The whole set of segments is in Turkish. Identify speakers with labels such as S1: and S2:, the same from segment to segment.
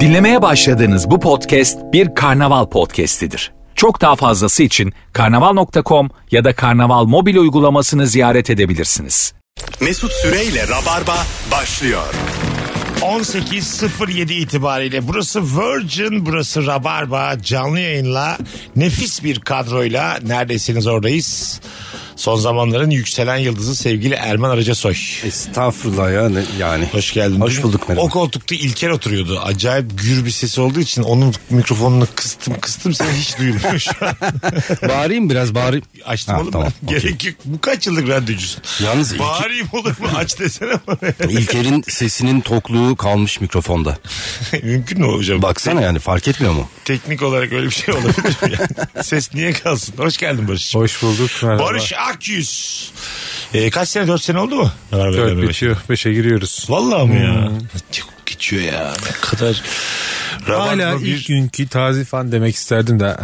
S1: Dinlemeye başladığınız bu podcast bir karnaval podcastidir. Çok daha fazlası için karnaval.com ya da karnaval mobil uygulamasını ziyaret edebilirsiniz.
S2: Mesut Süreyle Rabarba başlıyor.
S3: 18.07 itibariyle burası Virgin, burası Rabarba canlı yayınla nefis bir kadroyla neredesiniz oradayız. Son zamanların yükselen yıldızı sevgili Erman Arıcasoy.
S4: Estağfurullah ya ne- yani.
S3: Hoş geldin.
S4: Hoş
S3: Dün
S4: bulduk merhaba.
S3: O koltukta İlker oturuyordu. Acayip gür bir sesi olduğu için onun mikrofonunu kıstım kıstım seni hiç duyulmuyor şu an.
S4: Bağırayım biraz bağırayım.
S3: Açtım
S4: Ha,
S3: oğlum
S4: tamam,
S3: ben. Gerek yok. Bu kaç yıllık radyocusun?
S4: Yalnız İlker-
S3: Bağırayım olur mu? Aç desene bana.
S4: İlker'in sesinin tokluğu kalmış mikrofonda.
S3: Mümkün mü hocam?
S4: Baksana yani fark etmiyor mu?
S3: Teknik olarak öyle bir şey olabilir mi? Yani ses niye kalsın? Hoş geldin Barış.
S5: Hoş bulduk. Merhaba.
S3: Barış Akyüz. Ee, kaç sene? Dört sene oldu mu? Beraber
S5: Dört
S3: beraber.
S5: bitiyor. Beşe Hmm. giriyoruz.
S3: Vallahi mi ya? Çok geçiyor ya. Ne kadar...
S5: Hala
S3: Rabarba bir-
S5: ilk günkü taze fan demek isterdim de.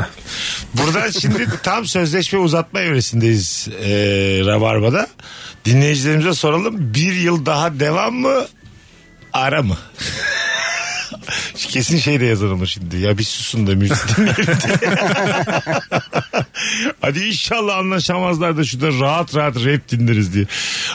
S3: Buradan şimdi tam sözleşme uzatma evresindeyiz e, Rabarba'da. Dinleyicilerimize soralım. Bir yıl daha devam mı? Ara mı? Kesin şey de yazarım şimdi. Ya bir susun da müzik dinleyelim diye. Hadi inşallah anlaşamazlar da şurada rahat rahat rap dinleriz diye.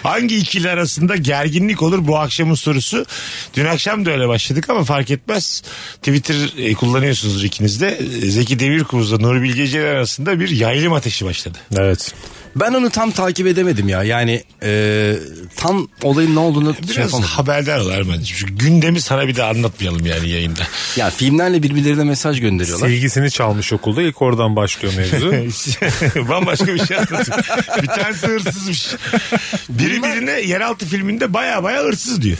S3: Hangi ikili arasında gerginlik olur bu akşamın sorusu? Dün akşam da öyle başladık ama fark etmez. Twitter e, kullanıyorsunuz ikiniz de. E, Zeki Demirkubuz'la Nuri Bilge Ceylan arasında bir yaylım ateşi başladı.
S5: Evet.
S4: Ben onu tam takip edemedim ya. Yani e, tam olayın ne olduğunu şey
S3: Biraz
S4: yapamadım.
S3: haberdar ol Erman'cığım. Şu gündemi sana bir de anlatmayalım yani yayında.
S4: Ya filmlerle birbirlerine mesaj gönderiyorlar.
S5: Sevgisini çalmış okulda. İlk oradan başlıyor mevzu.
S3: Bambaşka bir şey anlatayım. bir tanesi hırsızmış. Biri birine yeraltı filminde baya baya hırsız diyor.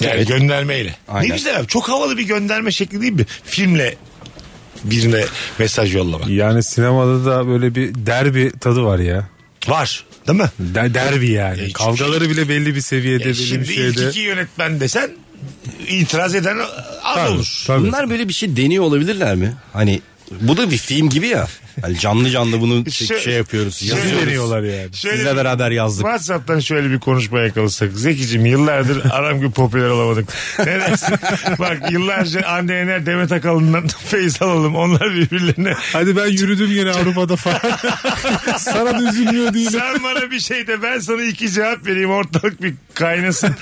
S3: Yani
S4: Evet.
S3: göndermeyle.
S4: Aynen.
S3: Ne güzel abi. Çok havalı bir gönderme şekli değil mi? Filmle birine mesaj yollamak.
S5: yani sinemada da böyle bir derbi tadı var ya.
S3: Var. Değil mi?
S5: Der- derbi yani.
S3: Ya şey-
S5: Kavgaları bile belli bir seviyede,
S3: Ya
S5: belli bir
S3: şimdi ilk
S5: şeyde.
S3: iki yönetmen desen itiraz eden az
S5: Tabii,
S3: olur.
S5: tabii.
S4: Bunlar böyle bir şey deniyor olabilirler mi? Hani bu da bir film gibi ya. Hani canlı canlı bunu şey, şey yapıyoruz.
S3: Şöyle-
S4: Yazıyoruz.
S5: deniyorlar yani.
S3: Şöyle
S4: Sizle beraber yazdık.
S3: WhatsApp'tan şöyle bir konuşma yakalasak. Zekicim yıllardır aram gibi popüler olamadık. Ne dersin? Bak yıllarca Hande Yener Demet Akalın'dan feyiz alalım. Onlar birbirlerine
S5: Hadi ben yürüdüm yine Avrupa'da falan. Sana da üzülmüyor değilim.
S3: sen bana bir şey de ben sana iki cevap vereyim ortalık bir kaynasın.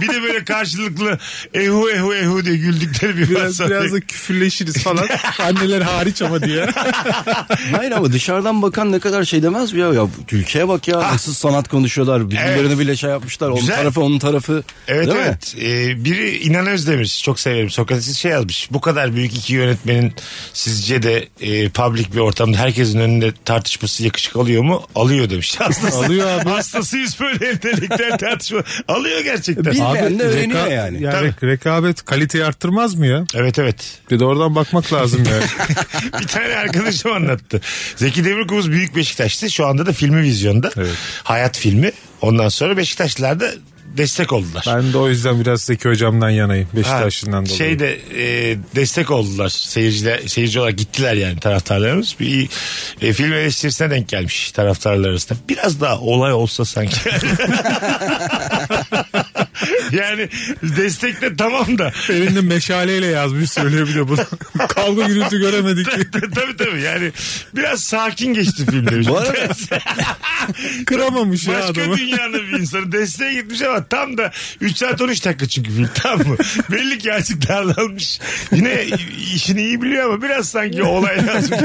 S3: bir de böyle karşılıklı ehu ehu ehu diye güldükleri bir
S5: Biraz,
S3: WhatsApp.
S5: biraz da küfürleşiriz falan. Anneler hariç ama diye.
S4: Hayır ama dışarıdan bakan ne kadar şey demez mi ya? ya ülkeye bak ya nasıl sanat konuşuyorlar. Birbirlerine
S3: Ah. Evet.
S4: bile şey yapmışlar. Onun
S3: Güzel.
S4: tarafı onun tarafı.
S3: Evet
S4: Değil mi?
S3: evet. Ee, biri İnan Özdemir çok severim. Sokrates şey yazmış. Bu kadar büyük iki yönetmenin sizce de e, public bir ortamda herkesin önünde tartışması yakışık alıyor mu? Alıyor demiş. Hastası,
S5: Alıyor abi.
S3: Hastasıyız böyle entelektüel tartışma. Alıyor gerçekten.
S4: Bir- Bilmeyen de öğreniyor
S5: reka-
S4: yani.
S5: rek- rekabet kaliteyi arttırmaz mı ya?
S3: Evet evet.
S5: Bir de oradan bakmak lazım yani.
S3: Bir tane arkadaşım anlattı. Zeki Demirkubuz Büyük Beşiktaş'tı. Şu anda da filmi vizyonda.
S5: Evet.
S3: Hayat filmi. Ondan sonra Beşiktaşlılar da destek oldular.
S5: ben de o yüzden biraz Zeki hocamdan yanayım. Beşiktaşlı'ndan dolayı.
S3: Şeyde e, destek oldular seyirciler seyirci olarak gittiler yani taraftarlarımız. Bir e, film eleştirisine denk gelmiş taraftarlar arasında. Biraz daha olay olsa sanki. yani destekle tamam da
S5: Elinde meşaleyle yazmış söyleyebiliyor bunu. Kavga gürültü göremedik.
S3: tabii tabii yani biraz sakin geçti film demiş.
S4: Bu arada-
S5: Kıramamış ya
S3: Başka
S5: adamı.
S3: dünyanın bir insanı desteğe gitmiş ama tam da 3 saat 13 dakika çünkü film tam mı? Belli ki azıcık darlanmış. Yine işini iyi biliyor ama biraz sanki olay lazım.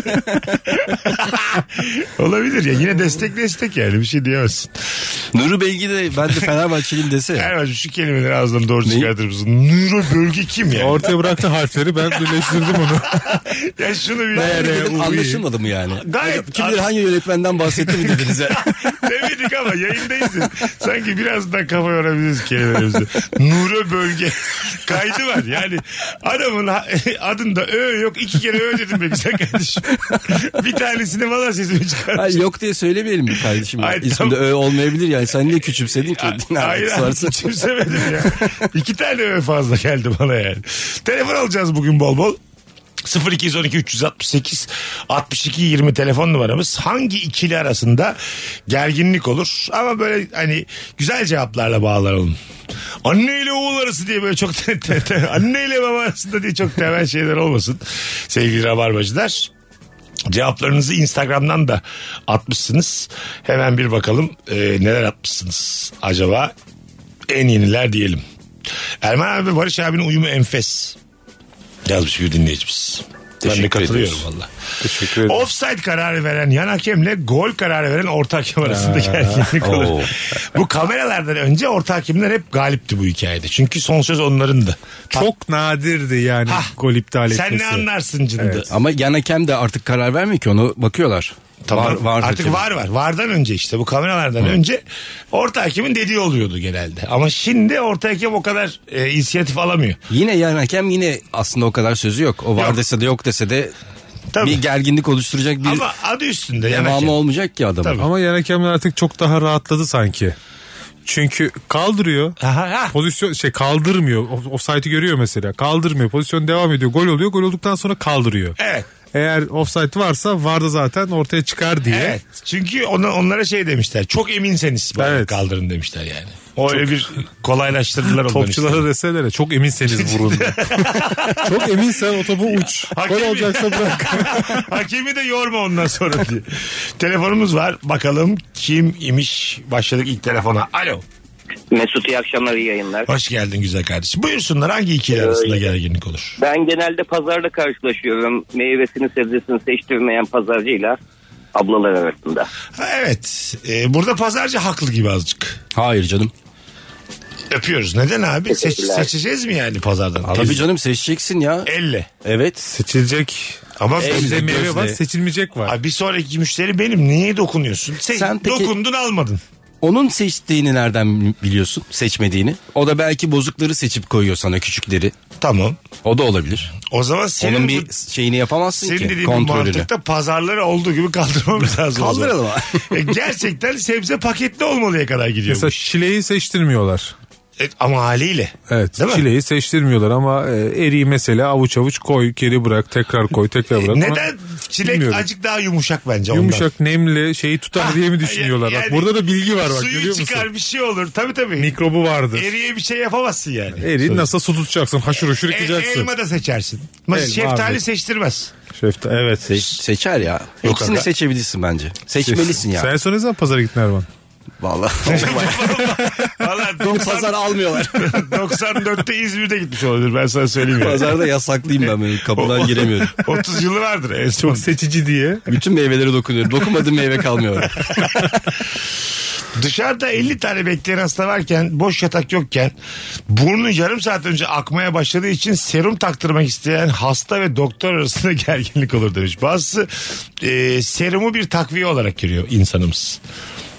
S3: Olabilir ya yine destek destek yani bir şey diyemezsin.
S4: Nuri Belgi de ben de Fenerbahçeliyim dese. ya.
S3: Erman'cığım şu kelimeleri ağzından doğru
S4: Neyi?
S3: çıkartır mısın? Nuro bölge kim ya? Yani?
S5: Ortaya bıraktı harfleri ben birleştirdim onu.
S3: ya şunu
S4: Yani
S3: bir...
S4: dedim, Anlaşılmadı mı yani?
S3: Gayet
S4: Kim bilir hangi yönetmenden bahsetti mi dediniz ya?
S3: Demedik ama yayındayız. ya. Sanki biraz daha kafa yorabiliriz kelimelerimizi. Nuro bölge kaydı var. Yani adamın ha- adında ö yok. iki kere ö dedim be güzel kardeşim. bir tanesini valla sesimi çıkardım.
S4: Hayır, yok diye söylemeyelim mi kardeşim? ya?
S3: Ay,
S4: İsmi
S3: tamam.
S4: de öyle olmayabilir yani. Sen niye küçümsedin ki? Ne
S3: Hayır
S4: alakası varsa.
S3: abi, küçümsemedim ya. İki tane ö fazla geldi bana yani. Telefon alacağız bugün bol bol. 0212 368 62 20 telefon numaramız. Hangi ikili arasında gerginlik olur? Ama böyle hani güzel cevaplarla bağlanalım. Anne ile oğul arası diye böyle çok te- te- te- anne ile baba arasında diye çok temel şeyler olmasın. Sevgili rabarbacılar. Cevaplarınızı Instagram'dan da atmışsınız. Hemen bir bakalım e, neler atmışsınız acaba en yeniler diyelim. Erman abi Barış abinin uyumu enfes. Yazmış bir dinleyicimiz. ben de
S4: Teşekkür
S3: katılıyorum
S4: ediyoruz.
S3: valla.
S5: Teşekkür ederim.
S3: Offside kararı veren yan hakemle gol kararı veren orta hakem arasında gerginlik
S4: Oo.
S3: olur. bu kameralardan önce orta hakemler hep galipti bu hikayede. Çünkü son söz onlarındı.
S5: Çok nadirdi yani
S3: Hah.
S5: gol iptal etmesi.
S3: Sen ne anlarsın cındı.
S4: Ama yan hakem de artık karar vermiyor ki onu bakıyorlar.
S3: Tamam.
S4: Var, var
S3: Artık
S4: hakemi.
S3: var var. Vardan önce işte bu kameralardan önce orta hakemin dediği oluyordu genelde. Ama şimdi orta hakem o kadar e, inisiyatif alamıyor.
S4: Yine yan hakem yine aslında o kadar sözü yok. O var
S3: Yok.
S4: dese de yok dese de
S3: Tabii.
S4: bir gerginlik oluşturacak bir
S3: Ama adı üstünde yan hakem.
S4: devamı olmayacak ki adamın.
S3: Tabii.
S5: Ama yan hakemler artık çok daha rahatladı sanki. Çünkü kaldırıyor.
S3: Aha, ha.
S5: Pozisyon şey kaldırmıyor. O, offside'i görüyor mesela. Kaldırmıyor. Pozisyon devam ediyor. Gol oluyor. Gol olduktan sonra kaldırıyor.
S3: Evet.
S5: Eğer offside varsa vardı zaten ortaya çıkar diye.
S3: Evet. Çünkü ona, onlara şey demişler. Çok eminseniz bana
S5: Evet.
S3: kaldırın demişler yani. O öyle bir kolaylaştırdılar onları.
S5: Topçulara deseler ya, çok eminseniz vurun. diye. çok eminsen o topu uç.
S3: Hakemi-
S5: Gol olacaksa bırak.
S3: Hakemi de yorma ondan sonra diye. Telefonumuz var. Bakalım kim imiş. Başladık ilk telefona. Alo.
S6: Mesut iyi akşamlar iyi yayınlar.
S3: Hoş geldin güzel kardeşim. Buyursunlar hangi ikili arasında gerginlik olur?
S6: Ben genelde pazarda karşılaşıyorum. Meyvesini sebzesini seçtirmeyen pazarcıyla ablalar arasında.
S3: Ha, Evet. Ee, burada pazarcı haklı gibi azıcık.
S4: Hayır canım.
S3: Öpüyoruz. Neden abi? Seç-
S6: Teşekkürler.
S3: seçeceğiz mi yani pazardan?
S4: Tabii canım seçeceksin ya.
S3: Elle.
S4: Evet.
S5: Seçilecek.
S3: Ama
S5: Bize
S4: Gözle.
S5: meyve var seçilmeyecek var.
S3: Abi bir sonraki müşteri benim. Niye dokunuyorsun? Sen,
S4: Sen peki-
S3: dokundun almadın.
S4: Onun seçtiğini nereden biliyorsun? Seçmediğini. O da belki bozukları seçip koyuyor sana küçükleri.
S3: Tamam.
S4: O da olabilir.
S3: O zaman senin
S4: Onun
S3: bu-
S4: bir şeyini yapamazsın
S3: senin
S4: ki
S3: dediğin
S4: kontrolünü.
S3: mantıkta pazarları olduğu gibi kaldırmamız lazım. o zaman.
S4: Kaldıralım ha.
S3: E, gerçekten sebze paketli olmalıya kadar gidiyormuş.
S5: Mesela çileği seçtirmiyorlar.
S3: E, ama haliyle.
S5: Evet
S3: Değil mi?
S5: çileği seçtirmiyorlar ama e, eriği mesela avuç avuç koy geri bırak tekrar koy tekrar bırak.
S3: Neden
S5: Ona-
S3: çilek
S5: Bilmiyorum.
S3: acık daha yumuşak bence ondan.
S5: Yumuşak nemli şeyi tutar diye mi düşünüyorlar?
S3: Yani-
S5: bak burada da bilgi var bak görüyor
S3: Suyu
S5: musun?
S3: çıkar bir şey olur. Tabii tabii.
S5: Mikrobu vardır.
S3: Eriye bir şey yapamazsın yani.
S5: Eriği nasıl su tutacaksın? Haşır huşur
S3: E-
S5: yıkacaksın.
S3: elma da seçersin. Mesela
S5: Elma
S3: şeftali
S5: abi.
S3: seçtirmez.
S5: Şefta- evet.
S4: Seç- seçer ya. Hepsini
S3: aga.
S4: seçebilirsin bence.
S3: Şey,
S4: Seçmelisin ya.
S5: Sen sonra ne zaman pazara gittin Erman?
S4: Vallahi.
S3: Valla
S4: Bu
S3: 90,
S4: pazar almıyorlar.
S3: 94'te İzmir'de gitmiş olabilir ben sana söyleyeyim. yani.
S4: Pazarda yasaklıyım ben. Böyle kapıdan giremiyorum.
S3: 30 yılı vardır en son.
S5: Çok seçici diye.
S4: Bütün meyvelere dokunuyorum. Dokunmadığım meyve kalmıyor.
S3: Dışarıda 50 tane bekleyen hasta varken boş yatak yokken burnu yarım saat önce akmaya başladığı için serum taktırmak isteyen hasta ve doktor arasında gerginlik olur demiş. Bazısı e, serumu bir takviye olarak görüyor insanımız.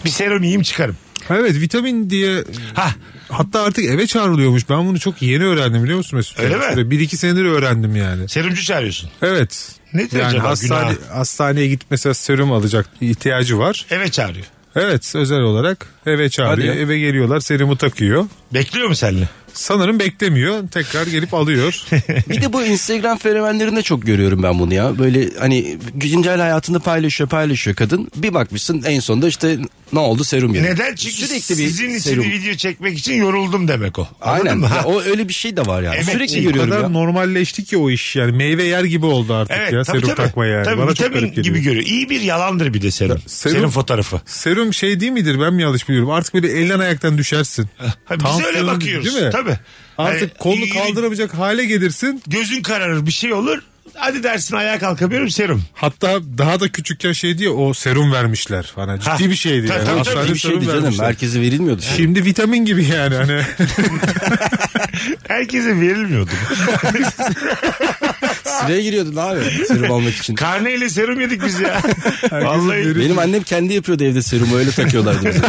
S3: Bir serum yiyeyim çıkarım.
S5: Evet vitamin diye
S3: Ha
S5: hatta artık eve çağrılıyormuş. Ben bunu çok yeni öğrendim biliyor musun Mesut?
S3: Öyle mi?
S5: Şöyle Bir iki senedir öğrendim yani.
S3: serumcu çağırıyorsun.
S5: Evet.
S3: Nedir
S5: yani
S3: acaba
S5: hastane,
S3: günah?
S5: hastaneye git mesela serum alacak ihtiyacı var.
S3: Eve çağırıyor.
S5: Evet özel olarak eve çağırıyor.
S4: Hadi ya.
S5: Eve geliyorlar serumu takıyor.
S3: Bekliyor mu seninle?
S5: Sanırım beklemiyor. Tekrar gelip alıyor.
S4: Bir de bu Instagram fenomenlerinde çok görüyorum ben bunu ya. Böyle hani güncel hayatını paylaşıyor paylaşıyor kadın. Bir bakmışsın en sonunda işte ne oldu serum yedi.
S3: Neden? Çünkü
S4: Sürekli bir
S3: sizin için
S4: serum.
S3: video çekmek için yoruldum demek o. Anladın
S4: Aynen.
S3: mı?
S4: Ya o öyle bir şey de var yani.
S3: Evet,
S4: Sürekli
S3: iyi.
S5: o
S4: görüyorum
S5: kadar
S4: ya.
S5: normalleşti ki o iş yani meyve yer gibi oldu artık
S3: Evet
S5: ya
S3: tabii
S5: serum
S3: tabii.
S5: takma yani.
S3: Tabii,
S5: Bana çok
S3: vitamin
S5: garip geliyor.
S3: gibi görüyor. İyi bir yalandır bir de serum. Serum,
S5: serum-
S3: fotoğrafı.
S5: Serum şey değil midir ben mi yanlış biliyorum artık böyle elden ayaktan düşersin.
S3: Ha, biz
S5: Tansiyonun-
S3: öyle bakıyoruz.
S5: Değil mi?
S3: Tabii.
S5: Artık
S3: Hani
S5: kolunu
S3: yürü-
S5: kaldıramayacak hale gelirsin
S3: Gözün kararır bir şey olur. Hadi dersin ayağa kalkamıyorum serum.
S5: hatta daha da küçükken şey diye o serum vermişler bana ciddi
S3: Ha.
S5: bir şeydi
S3: Tabii,
S5: yani.
S3: tabii,
S5: Hastane
S3: tabii.
S4: Bir şey şeydi
S5: serum
S4: canım.
S3: şey.
S5: vermişler.
S4: Herkese verilmiyordu. Şey, Şimdi
S5: Şimdi vitamin gibi yani hani
S3: Herkese verilmiyordu.
S4: sıraya giriyordun abi serum almak için.
S3: Karneyle serum yedik biz ya. Vallahi
S5: verir-
S4: Benim annem kendi yapıyordu evde serumu öyle takıyorlardı bize.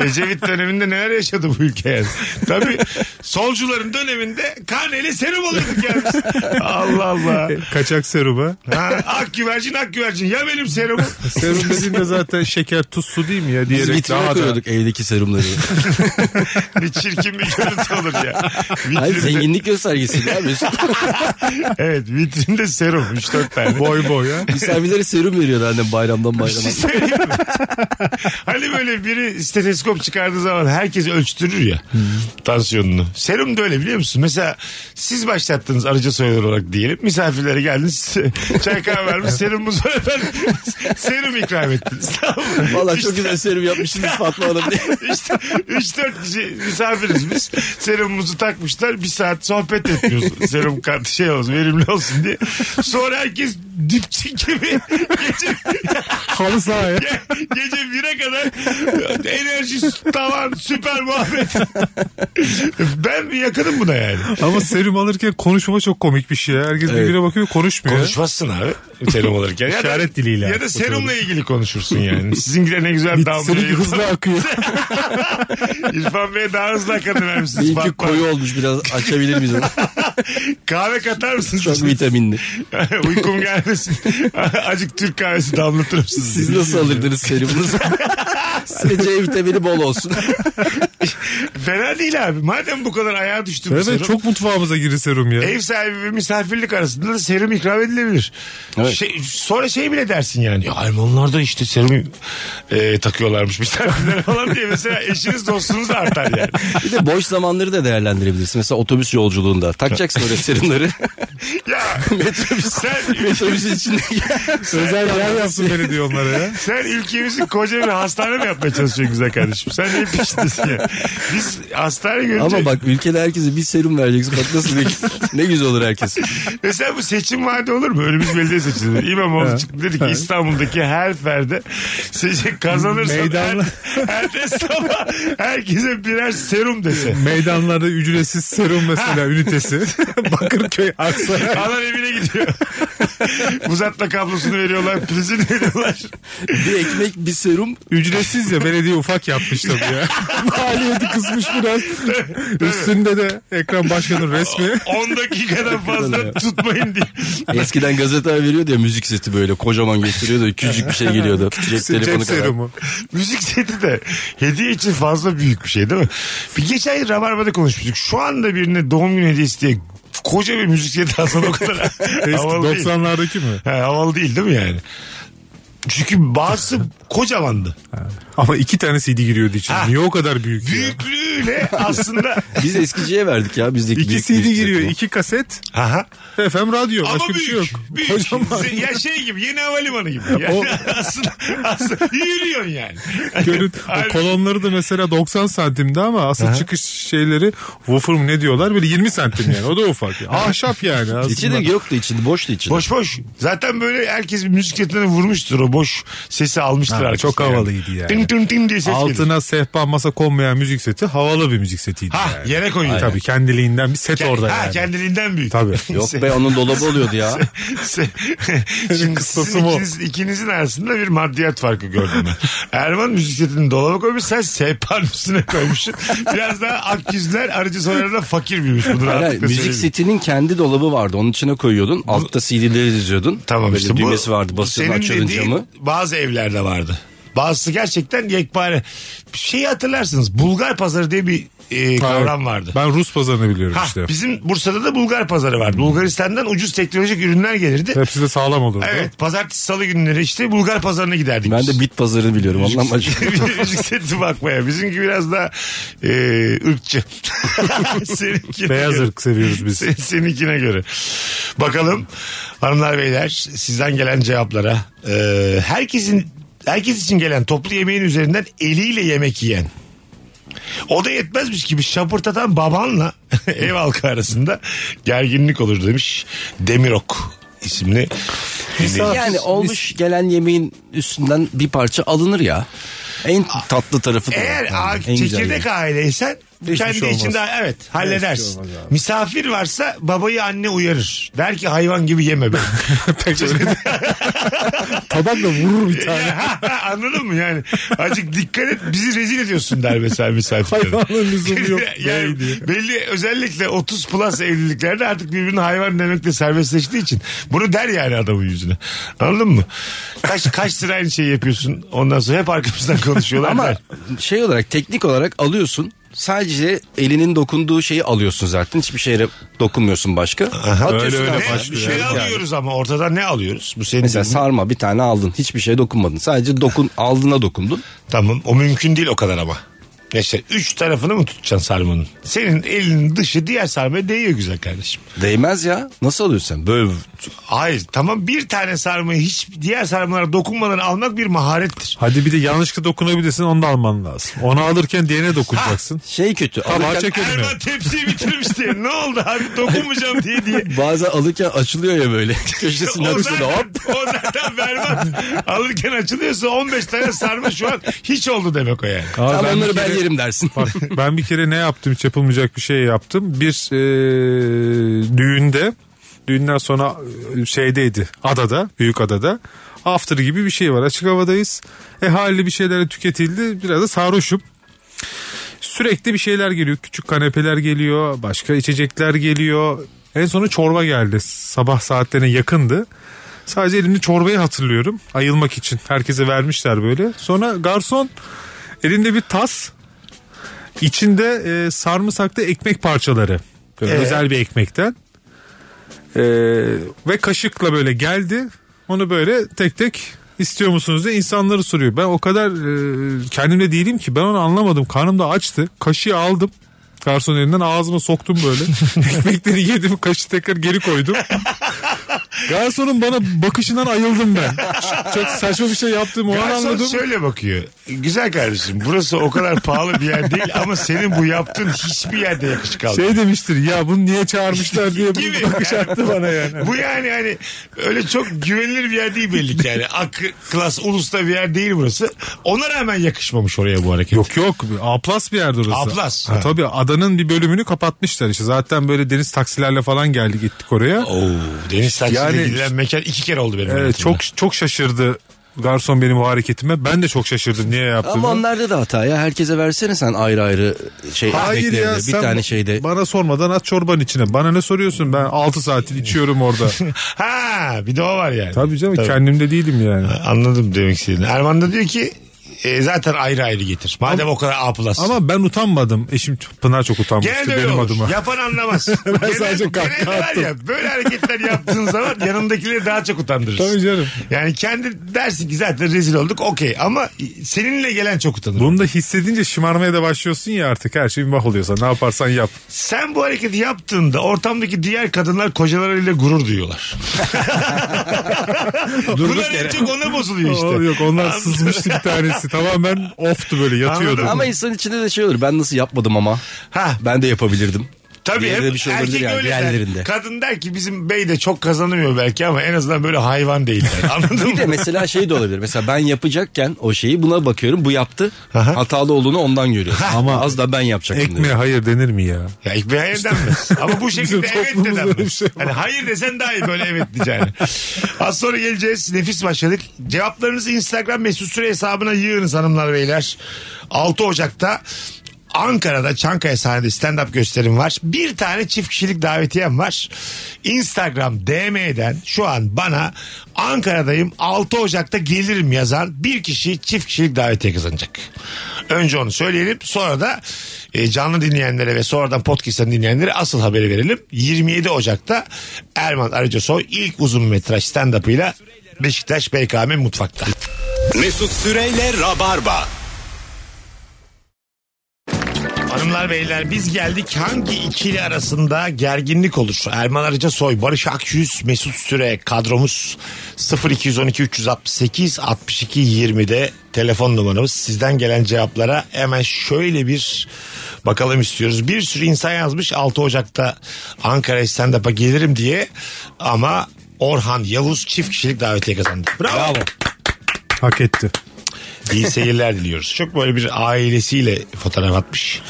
S3: Ecevit döneminde neler yaşadı bu ülke yani. Tabii solcuların döneminde karneyle serum oluyorduk yani. biz. Allah Allah.
S5: Kaçak seruma.
S3: Ha, ak güvercin ak güvercin ya benim serumum.
S5: Serum dediğinde zaten şeker tuz su değil mi ya
S4: Biz
S5: diyerek
S4: vitrine
S5: daha da.
S4: koyuyorduk evdeki serumları.
S3: ne çirkin bir görüntü olur ya.
S4: Hayır
S3: Vitrinde-
S4: zenginlik göstergesi ya Mesut.
S3: Evet vitrinde serum 3-4 tane.
S5: Boy boy ya.
S4: Misafirlere serum veriyordu annem bayramdan
S3: Bir
S4: bayrama.
S3: şey söyleyeyim mi? hani böyle biri steteskop çıkardığı zaman herkes ölçtürür ya tansiyonunu. Serum da öyle biliyor musun? Mesela siz başlattınız arıca soyulur olarak diyelim. Misafirlere geldiniz. Çay kahve vermiş serumumuz var efendim. Serum ikram ettiniz. Tamam mı?
S4: Valla çok
S3: İşte-
S4: güzel serum yapmışsınız Fatma Hanım diye.
S3: İşte 3-4 kişi şey, misafiriz biz. Serumumuzu takmışlar. Bir saat sohbet etmiyoruz. Serum kartı şey olsun verimli olsun diye. Sonra herkes dipçi gibi gece
S5: Halı saha ya.
S3: Ge- Gece 1'e kadar enerji tavan süper muhabbet. ben bir yakınım buna yani.
S5: Ama serum alırken konuşma çok komik bir şey ya. Herkes birbirine bakıyor konuşmuyor.
S3: Konuşmazsın abi serum alırken. Ya da-
S5: İşaret diliyle.
S3: Ya da serumla ilgili konuşursun yani. Sizinkiler ne güzel damlıyor.
S5: Serum hızlı akıyor.
S3: İrfan Bey'e daha hızlı akadın vermişsiniz.
S4: İyi ki
S3: Bak, bak.
S4: koyu olmuş biraz açabilir miyiz onu?
S3: Kahve katar
S4: Çok
S3: mısınız?
S4: vitaminli.
S3: Uykum gelmesin. Azıcık Türk kahvesi damlatırım sizi.
S4: Siz nasıl alırdınız serumunuzu? Hani C vitamini bol olsun.
S3: Fena değil abi. Madem bu kadar ayağa düştüm. bu serum.
S5: Evet çok mutfağımıza girir serum ya.
S4: E-
S3: Ev sahibi ve misafirlik arasında da serum ikram edilebilir.
S4: Evet.
S3: Şey, sonra şey bile dersin yani. Ya Almanlar da işte serum e, takıyorlarmış misafirlere falan diye. Mesela eşiniz dostunuz da artar yani.
S4: Bir de boş zamanları da değerlendirebilirsin. Mesela otobüs yolculuğunda takacaksın öyle serumları.
S3: Ya
S4: Metrobüs.
S3: sen,
S4: Metrobüsün içinde.
S5: Özel yer yapsın beni diyor onlara ya.
S3: sen ülkemizin koca bir hastane mi yapmaya çalışıyorsun güzel kardeşim? Sen ne peşindesin ya? Biz hastane görünce...
S4: Ama bak ülkede herkese bir serum vereceksin. Bak nasıl ne, ne güzel olur herkes.
S3: Mesela bu seçim vaadi olur mu? Önümüz belediye seçimleri. İmamoğlu çıktı dedi ki İstanbul'daki her ferde seçim kazanırsa
S5: Meydanla-
S3: her, ertesi sabah herkese birer serum dese.
S5: Meydanlarda ücretsiz serum mesela ünitesi. Bakırköy Aksaray.
S3: Alan evine gidiyor. Uzatma kablosunu veriyorlar, prizini veriyorlar.
S4: Bir ekmek bir serum.
S5: Ücretsiz ya belediye ufak yapmış tabii ya. Maliyeti kısmış biraz. Üstünde de Ekrem Başkan'ın resmi.
S3: 10 dakikadan fazla tutmayın diye.
S4: Eskiden gazeteler veriyordu ya müzik seti böyle kocaman gösteriyordu. Küçücük bir şey geliyordu. Cep
S5: Cep
S4: telefonu kadar.
S5: serumu.
S3: Müzik seti de hediye için fazla büyük bir şey değil mi? Bir geçen yıl Rabarba'da konuşmuştuk. Şu anda birine doğum günü hediyesi diye koca bir müzik seti aslında o kadar
S5: Eski
S3: havalı değil.
S5: 90'lardaki mi?
S3: He, havalı değil değil mi yani? Çünkü bazısı kocamandı.
S5: Ama iki tane CD giriyordu içine.
S3: Ha.
S5: Niye o kadar Ah. büyük? ya?
S3: Büyüklüğüyle aslında.
S4: Biz eskiciye verdik ya bizdeki
S5: İki
S4: büyük şey
S5: CD
S4: müzik
S5: giriyor,
S4: setini.
S5: iki kaset,
S3: Aha.
S5: FM radyo.
S3: Ama
S5: Başka
S3: büyük.
S5: bir şey yok.
S3: Büyük.
S5: Kocaman.
S3: Ya şey gibi yeni havalimanı gibi. Yani
S5: O-
S3: aslında, aslında yürüyorsun yani.
S5: Görün,
S3: Halbuki-
S5: o kolonları da mesela 90 santimdi ama asıl çıkış şeyleri woofer mı ne diyorlar böyle 20 santim yani o da ufak. Yani. Ahşap yani aslında.
S4: İçi de yoktu içinde boştu içinde.
S3: Boş boş. Zaten böyle herkes bir müzik yetinden vurmuştur o boş sesi almıştır.
S5: Ha,
S3: arkasına
S5: çok havalıydı yani.
S3: Tın tın tın diye ses geliyor.
S5: Altına sehpa masa konmayan müzik seti havalı bir müzik setiydi.
S3: Ha
S5: yani.
S3: yere koyuyor.
S5: Tabii kendiliğinden bir set
S3: Ke-
S5: orada
S3: ha,
S5: yani.
S3: kendiliğinden büyük.
S5: Tabii.
S4: Yok
S3: şey.
S4: be onun dolabı oluyordu ya.
S3: Se- Şimdi
S5: Kıstası
S3: sizin
S5: bu.
S3: ikiniz, ikinizin arasında bir maddiyat farkı gördüm ben. Erman müzik setini dolaba koymuş sen sehpanın üstüne koymuşsun. Biraz daha akgüzler arıcı sonralarda fakir büyümüş. Bunu
S4: Hayır, hayır,
S3: rahatlıkla
S4: müzik
S3: söyleyeyim.
S4: setinin kendi dolabı vardı. Onun içine koyuyordun. Altta CD'leri diziyordun.
S3: Tamam
S4: Böyle
S3: işte bu.
S4: düğmesi vardı. Basıyordun
S3: senin
S4: açıyordun
S3: dediğin
S4: camı.
S3: Bazı evlerde vardı. Bazısı gerçekten yekpare. Bir şeyi hatırlarsınız. Bulgar pazarı diye bir e, kavram vardı.
S5: Ben Rus pazarını biliyorum
S3: Ha,
S5: işte.
S3: bizim Bursa'da da Bulgar pazarı vardı.
S4: Hmm.
S3: Bulgaristan'dan ucuz teknolojik ürünler gelirdi.
S5: Hepsi de sağlam olurdu.
S3: Evet pazartesi salı günleri işte Bulgar pazarına giderdik.
S4: Ben
S3: biz.
S4: de bit pazarını biliyorum. Allah'ım acı.
S3: Müzik seti bakmaya. Bizimki biraz daha e, ırkçı. Seninkine
S5: Beyaz
S3: göre.
S5: ırk seviyoruz biz.
S3: Sen- Seninkine göre. Bakalım hanımlar beyler sizden gelen cevaplara. E, herkesin herkes için gelen toplu yemeğin üzerinden eliyle yemek yiyen. O da yetmezmiş gibi şapırtatan babanla ev halkı arasında gerginlik olur demiş Demirok isimli. dinleyicimiz.
S4: Yani olmuş gelen yemeğin üstünden bir parça alınır ya. En tatlı tarafı da. o.
S3: Eğer
S4: Yani
S3: a-
S4: en güzel
S3: çekirdek
S4: yemek.
S3: aileysen
S4: Hiçbir
S3: kendi
S4: şey olmaz.
S3: içinde evet halledersin.
S4: olmaz abi.
S3: Misafir varsa babayı anne uyarır. Der ki hayvan gibi yeme beni.
S5: Tabakla vurur bir tane.
S3: Yani, ha, ha, Anladın mı yani? Azıcık dikkat et bizi rezil ediyorsun der mesela misafirlere.
S5: Hayvanın lüzumu yok.
S3: yani
S5: bey diye.
S3: belli özellikle 30 plus evliliklerde artık birbirine hayvan demekle serbestleştiği için bunu der yani adamın yüzüne. Anladın mı? Kaç kaç sıra aynı şeyi yapıyorsun ondan sonra hep arkamızdan konuşuyorlar
S4: Ama
S3: der.
S4: şey olarak teknik olarak alıyorsun. Sadece elinin dokunduğu şeyi alıyorsun zaten. Hiçbir şeye dokunmuyorsun başka. Atıyorsun
S5: öyle öyle
S4: abi.
S3: Ne, bir
S5: başlıyor
S3: şey
S5: yani.
S3: alıyoruz ama ortadan ne alıyoruz? Bu senin
S4: Mesela
S3: dediğin-
S4: sarma bir tane aldın. Hiçbir şeye dokunmadın. Sadece dokun aldığına dokundun.
S3: Tamam o mümkün değil o kadar ama. Ya İşte üç tarafını mı tutacaksın sarmanın? Senin elinin dışı diğer sarmaya değiyor güzel kardeşim.
S4: Değmez ya. Nasıl alıyorsun sen? Böyle
S3: Hayır tamam bir tane sarmayı hiç diğer sarmalara dokunmadan almak bir maharettir.
S5: Hadi bir de yanlışlıkla dokunabilirsin onu da alman lazım. Onu alırken diğerine dokunacaksın.
S4: şey kötü.
S5: Tabağı
S4: alırken-
S5: çekelim.
S3: Erman tepsiyi bitirmiş diye ne oldu abi dokunmayacağım diye diye.
S4: Bazen alırken açılıyor ya böyle. Köşesinden
S3: O
S4: üstüne
S3: zaten,
S4: hop.
S3: o zaten berbat. Alırken açılıyorsa 15 tane sarma şu an hiç oldu demek o yani.
S5: Abi
S4: Tamam
S5: ben bir
S4: onları ben
S5: kere-
S4: yerim dersin.
S5: Bak ben bir kere ne yaptım hiç yapılmayacak bir şey yaptım. Bir e, düğünde düğünden sonra e, şeydeydi adada büyük adada after gibi bir şey var açık havadayız. E haliyle bir şeyler tüketildi biraz da sarhoşum. Sürekli bir şeyler geliyor küçük kanepeler geliyor başka içecekler geliyor. En sona çorba geldi sabah saatlerine yakındı. Sadece elimde çorbayı hatırlıyorum ayılmak için herkese vermişler böyle. Sonra garson elinde bir tas İçinde e, sarımsaklı ekmek parçaları. Böyle
S3: Ee?
S5: özel bir ekmekten. E, ve kaşıkla böyle geldi. Onu böyle tek tek istiyor musunuz diye insanları soruyor. Ben o kadar e, kendimde değilim ki ben onu anlamadım. Karnım da açtı. Kaşığı aldım. Garson elinden ağzıma soktum böyle. Ekmekleri yedim kaşığı tekrar geri koydum. Garsonun bana bakışından ayıldım ben. Çok saçma bir şey yaptığımı o an
S3: Garson
S5: anladım.
S3: şöyle bakıyor. Güzel kardeşim burası o kadar pahalı bir yer değil ama senin bu yaptığın hiçbir yerde yakışık almıyor.
S5: Şey demiştir ya bunu niye çağırmışlar diye
S3: Gibi.
S5: bir bakış attı bana yani.
S3: Bu yani hani öyle çok güvenilir bir yer değil belli ki yani. Ak, klas, ulusta bir yer değil burası. Ona rağmen yakışmamış oraya bu hareket.
S5: Yok yok Aplas bir yerde orası.
S3: Aplas,
S5: Ha,
S3: ha.
S5: tabii adanın bir bölümünü kapatmışlar işte. Zaten böyle deniz taksilerle falan geldi gittik oraya.
S3: Oo, deniz taksiyle
S5: Yani-
S3: gidilen mekan iki kere oldu benim.
S5: Ee,
S3: hayatımda.
S5: çok çok şaşırdı garson benim bu hareketime. Ben de çok şaşırdım niye yaptığımı.
S4: Ama onlarda da hata ya. Herkese versene sen ayrı ayrı şey
S5: Hayır
S4: ekmeklerini.
S5: ya
S4: bir
S5: sen
S4: tane şey şeyde.
S5: bana sormadan at çorbanın içine. Bana ne soruyorsun ben 6 saattir içiyorum orada.
S3: Ha bir de o var yani.
S5: tabii canım kendimde değilim yani.
S3: Anladım demek istediğini. Erman da diyor ki e, zaten ayrı ayrı getir. Madem o kadar A plus.
S5: Ama ben utanmadım. Eşim Pınar çok utanmıştı
S3: Genelde öyle
S5: benim
S3: olur.
S5: adıma.
S3: Yapan anlamaz. Genel-
S5: sadece kahkaha
S3: genelde var Ya, böyle hareketler yaptığın zaman yanındakileri daha çok utandırırsın.
S5: Tabii canım.
S3: Yani kendi dersin ki zaten rezil olduk okey ama seninle gelen çok utanır.
S5: Bunu da hissedince şımarmaya da başlıyorsun ya artık her şey bir bak oluyorsa ne yaparsan yap.
S3: Sen bu hareketi yaptığında ortamdaki diğer kadınlar kocalarıyla gurur duyuyorlar. Bunlar en çok ona bozuluyor işte.
S5: Aa, yok onlar
S3: Anladın-
S5: sızmıştı bir tanesi. Tamamen off'tu böyle yatıyordu.
S3: Anladım.
S4: Ama insan içinde de şey olur. Ben nasıl yapmadım ama.
S3: Ha
S4: Ben de yapabilirdim.
S3: Tabii
S4: Bir yerde
S3: hep
S4: bir şey olabilir
S3: erkek
S4: yani,
S3: öyle der.
S4: diğerlerinde.
S3: Kadın der ki bizim bey de çok kazanamıyor belki ama en azından böyle hayvan değil. der. Anladın
S4: Bir de
S3: mı?
S4: mesela şey de olabilir. Mesela ben yapacakken o şeyi buna bakıyorum. Bu yaptı.
S3: Aha.
S4: Hatalı olduğunu ondan görüyorsun. Ama az da ben yapacaktım. diyorum.
S5: Ekmeğe hayır denir mi ya?
S3: Ya ilk bir hayır denmez. Ama bu şekilde
S5: Bizim
S3: evet de
S5: toplumumuzda öyle bir
S3: denmez.
S5: şey var.
S3: hani hayır desen daha iyi böyle evet diyeceğini. Az sonra geleceğiz. Nefis başladık. Cevaplarınızı Instagram mesut süre hesabına yığınız hanımlar beyler. 6 Ocak'ta Ankara'da Çankaya sahnede stand-up gösterim var. Bir tane çift kişilik davetiyem var. Instagram DM'den şu an bana Ankara'dayım 6 Ocak'ta gelirim yazan bir kişi çift kişilik davetiye kazanacak. Önce onu söyleyelim sonra da e, canlı dinleyenlere ve sonradan podcast'ten dinleyenlere asıl haberi verelim. 27 Ocak'ta Erman Arıcasoy ilk uzun metraj stand-up'ıyla Beşiktaş BKM Mutfak'ta.
S2: Mesut Süreyle Rabarba.
S3: Hanımlar beyler biz geldik hangi ikili arasında gerginlik olur? Erman Arıca Soy, Barış Akyüz, Mesut Süre kadromuz 0212 368 62 20'de telefon numaramız. Sizden gelen cevaplara hemen şöyle bir bakalım istiyoruz. Bir sürü insan yazmış 6 Ocak'ta Ankara stand-up'a gelirim diye ama Orhan Yavuz çift kişilik davetiye kazandı. Bravo.
S5: Hak etti.
S3: İyi seyirler diliyoruz. Çok böyle bir ailesiyle fotoğraf atmış.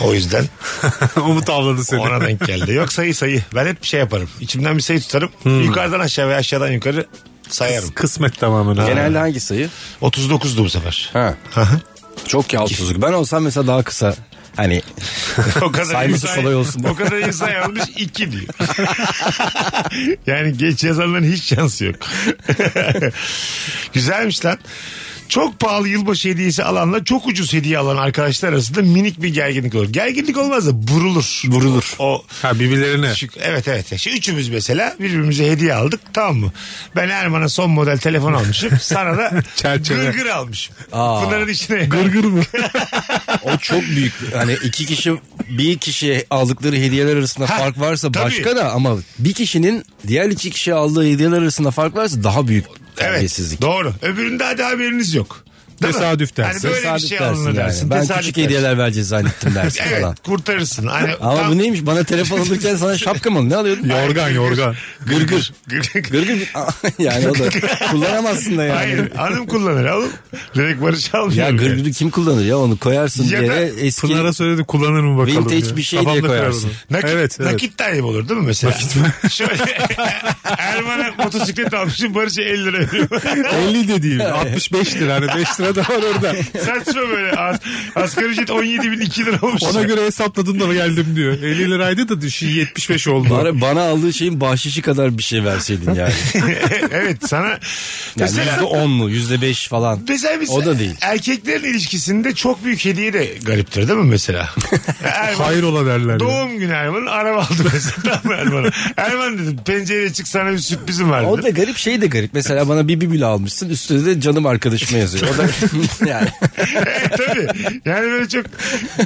S3: O yüzden
S5: Umut avladı seni.
S3: ona denk geldi. Yok sayı sayı. Ben hep şey yaparım. İçimden bir sayı tutarım.
S4: Hmm.
S3: Yukarıdan aşağı ve aşağıdan yukarı sayarım.
S5: Kısmet tamamen abi.
S4: Genelde hangi sayı?
S3: 39'du bu sefer.
S4: Ha.
S3: Aha.
S4: Çok yalçızlık. Ben olsam mesela daha kısa. Hani
S3: o kadar
S4: Sayması
S3: insan,
S4: kolay olsun.
S3: O kadar insan yazmış iki diyor. yani geç yazanların hiç şansı yok. Güzelmiş lan. Çok pahalı yılbaşı hediyesi alanla çok ucuz hediye alan arkadaşlar arasında minik bir gerginlik olur. Gerginlik olmaz da burulur.
S4: Burulur.
S3: O
S5: Ha birbirlerine.
S3: Şu- evet evet. Şu üçümüz mesela birbirimize hediye aldık tamam mı? Ben Erman'a son model telefon almışım. Sana da
S5: Çerçeve.
S3: gırgır almışım.
S4: Aa.
S3: Pınar'ın içine.
S5: Gırgır mı?
S4: o çok büyük. Hani iki kişi bir kişi aldıkları hediyeler arasında
S3: Ha,
S4: fark varsa
S3: tabii.
S4: başka da ama bir kişinin diğer iki kişi aldığı hediyeler arasında fark varsa daha büyük
S3: Evet
S4: terbiyesizlik.
S3: doğru. Öbüründe hadi haberiniz yok. Değil mi?
S5: Tesadüf dersin.
S3: Hani böyle
S4: Tesadüf
S3: bir şey
S4: dersin
S3: alınır
S4: yani.
S3: dersin.
S4: Ben
S3: Tesadüf
S4: küçük
S3: dersin.
S4: hediyeler vereceğiz zannettim dersin
S3: Evet
S4: falan.
S3: kurtarırsın. Hani,
S4: Ama bu neymiş bana telefon alırken sana şapka mı ne alıyordun?
S5: Yorgan yorgan.
S3: Gırgır. Gırgır.
S4: Gırgır Ah, yani o da kullanamazsın da yani.
S3: Hayır hanım kullanır oğlum. Direkt Barış almıyor.
S4: Ya gırgırı kim kullanır ya onu koyarsın
S3: Ya
S4: bir yere
S3: da
S4: eski
S5: Pınar'a söyledim kullanır mı bakalım.
S4: Vintage
S5: ya.
S4: bir şey diye
S5: Kafamda
S4: koyarsın.
S5: kırarım.
S3: Nakit,
S5: evet, evet.
S3: nakit tayyip olur değil mi mesela? Nakit mi? Şöyle Erman'a motosiklet almışım Barış'a 50 lira veriyorum.
S5: 50 de değil. 65 lira. Hani 5 lira da var orada.
S3: Saçma böyle. As, asgari ücret 17 bin 2 lira olmuş.
S5: Ona göre hesapladım da geldim diyor. 50 liraydı da düşün 75 oldu.
S4: bana, bana aldığı şeyin bahşişi kadar bir şey verseydin yani.
S3: evet sana.
S4: Yani
S3: Mesela-
S4: yüzde on mu yüzde beş falan.
S3: Mesela biz
S4: O da değil.
S3: erkeklerin ilişkisinde çok büyük hediye de gariptir değil mi mesela? Erman,
S5: Hayrola derler. ya.
S3: Doğum günü Erman'ın araba aldı mesela tamam Erman'a. Erman dedim pencereye çık sana bir sürprizim var
S4: O
S3: dedi.
S4: da garip şey de garip. Mesela bana bir bibül almışsın üstüne de canım arkadaşıma yazıyor. O da yani.
S3: Evet, Tabii. Yani böyle çok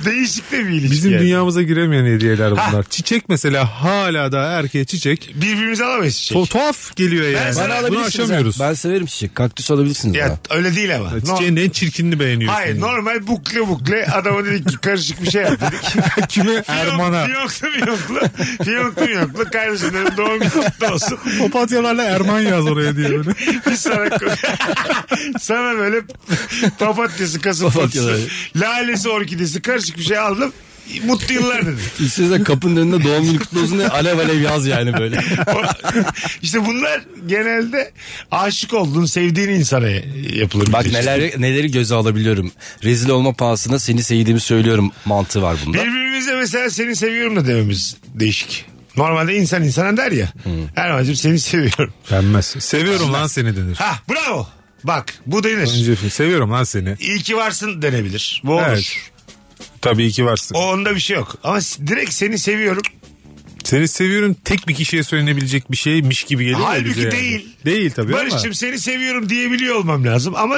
S3: değişik de bir ilişki.
S5: Bizim
S3: yani.
S5: dünyamıza giremeyen hediyeler bunlar. Çiçek mesela hala da erkeğe çiçek.
S3: Birbirimize alamayız çiçek.
S5: Tu- tuhaf geliyor yani.
S3: sana
S5: Bunu
S4: alabilirsiniz
S5: aşamıyoruz.
S4: ha. Ben severim çiçek. Kaktüs alabilirsiniz
S3: Ya
S4: bana.
S3: öyle değil ama. No-
S5: Çiçeğin en çirkinini beğeniyorsun.
S3: Hayır normal bukle bukle adama dedik ki karışık bir şey yap dedik.
S5: Kime? Erman'a.
S3: Fiyonklu fiyonklu. Fiyonklu fiyonklu. Kardeşim dedim doğum günü kutlu olsun.
S5: Papatyalarla Erman yaz oraya diye böyle.
S3: Biz sana, sana böyle papatyası, kasım
S4: Papatyaları.
S3: papatyası, lalesi, orkidesi karışık bir şey aldım. Mutlu yıllar dedim.
S4: Üstüne de kapının önünde doğum günü kutlu olsun diye alev alev yaz yani böyle.
S3: işte bunlar genelde aşık olduğun, sevdiğin insana yapılır.
S4: Bak
S3: bir şey.
S4: neler neleri göze alabiliyorum. Rezil olma pahasına seni sevdiğimi söylüyorum mantığı var bunda.
S3: Birbirimize mesela seni seviyorum da dememiz değişik. Normalde insan insana der ya. Erman'cığım seni seviyorum.
S5: Denmez. Seviyorum lan seni denir.
S3: Ha bravo. Bak bu denir.
S5: Önce seviyorum lan seni.
S3: İyi ki varsın denebilir. Bu olur.
S5: Evet. Tabii ki varsın.
S3: O onda bir şey yok. Ama s- direkt seni seviyorum.
S5: Seni seviyorum tek bir kişiye söylenebilecek bir şeymiş gibi geliyor ya
S3: Halbuki
S5: bize yani.
S3: değil.
S5: Değil tabii
S3: Barış'cığım seni seviyorum diyebiliyor olmam lazım ama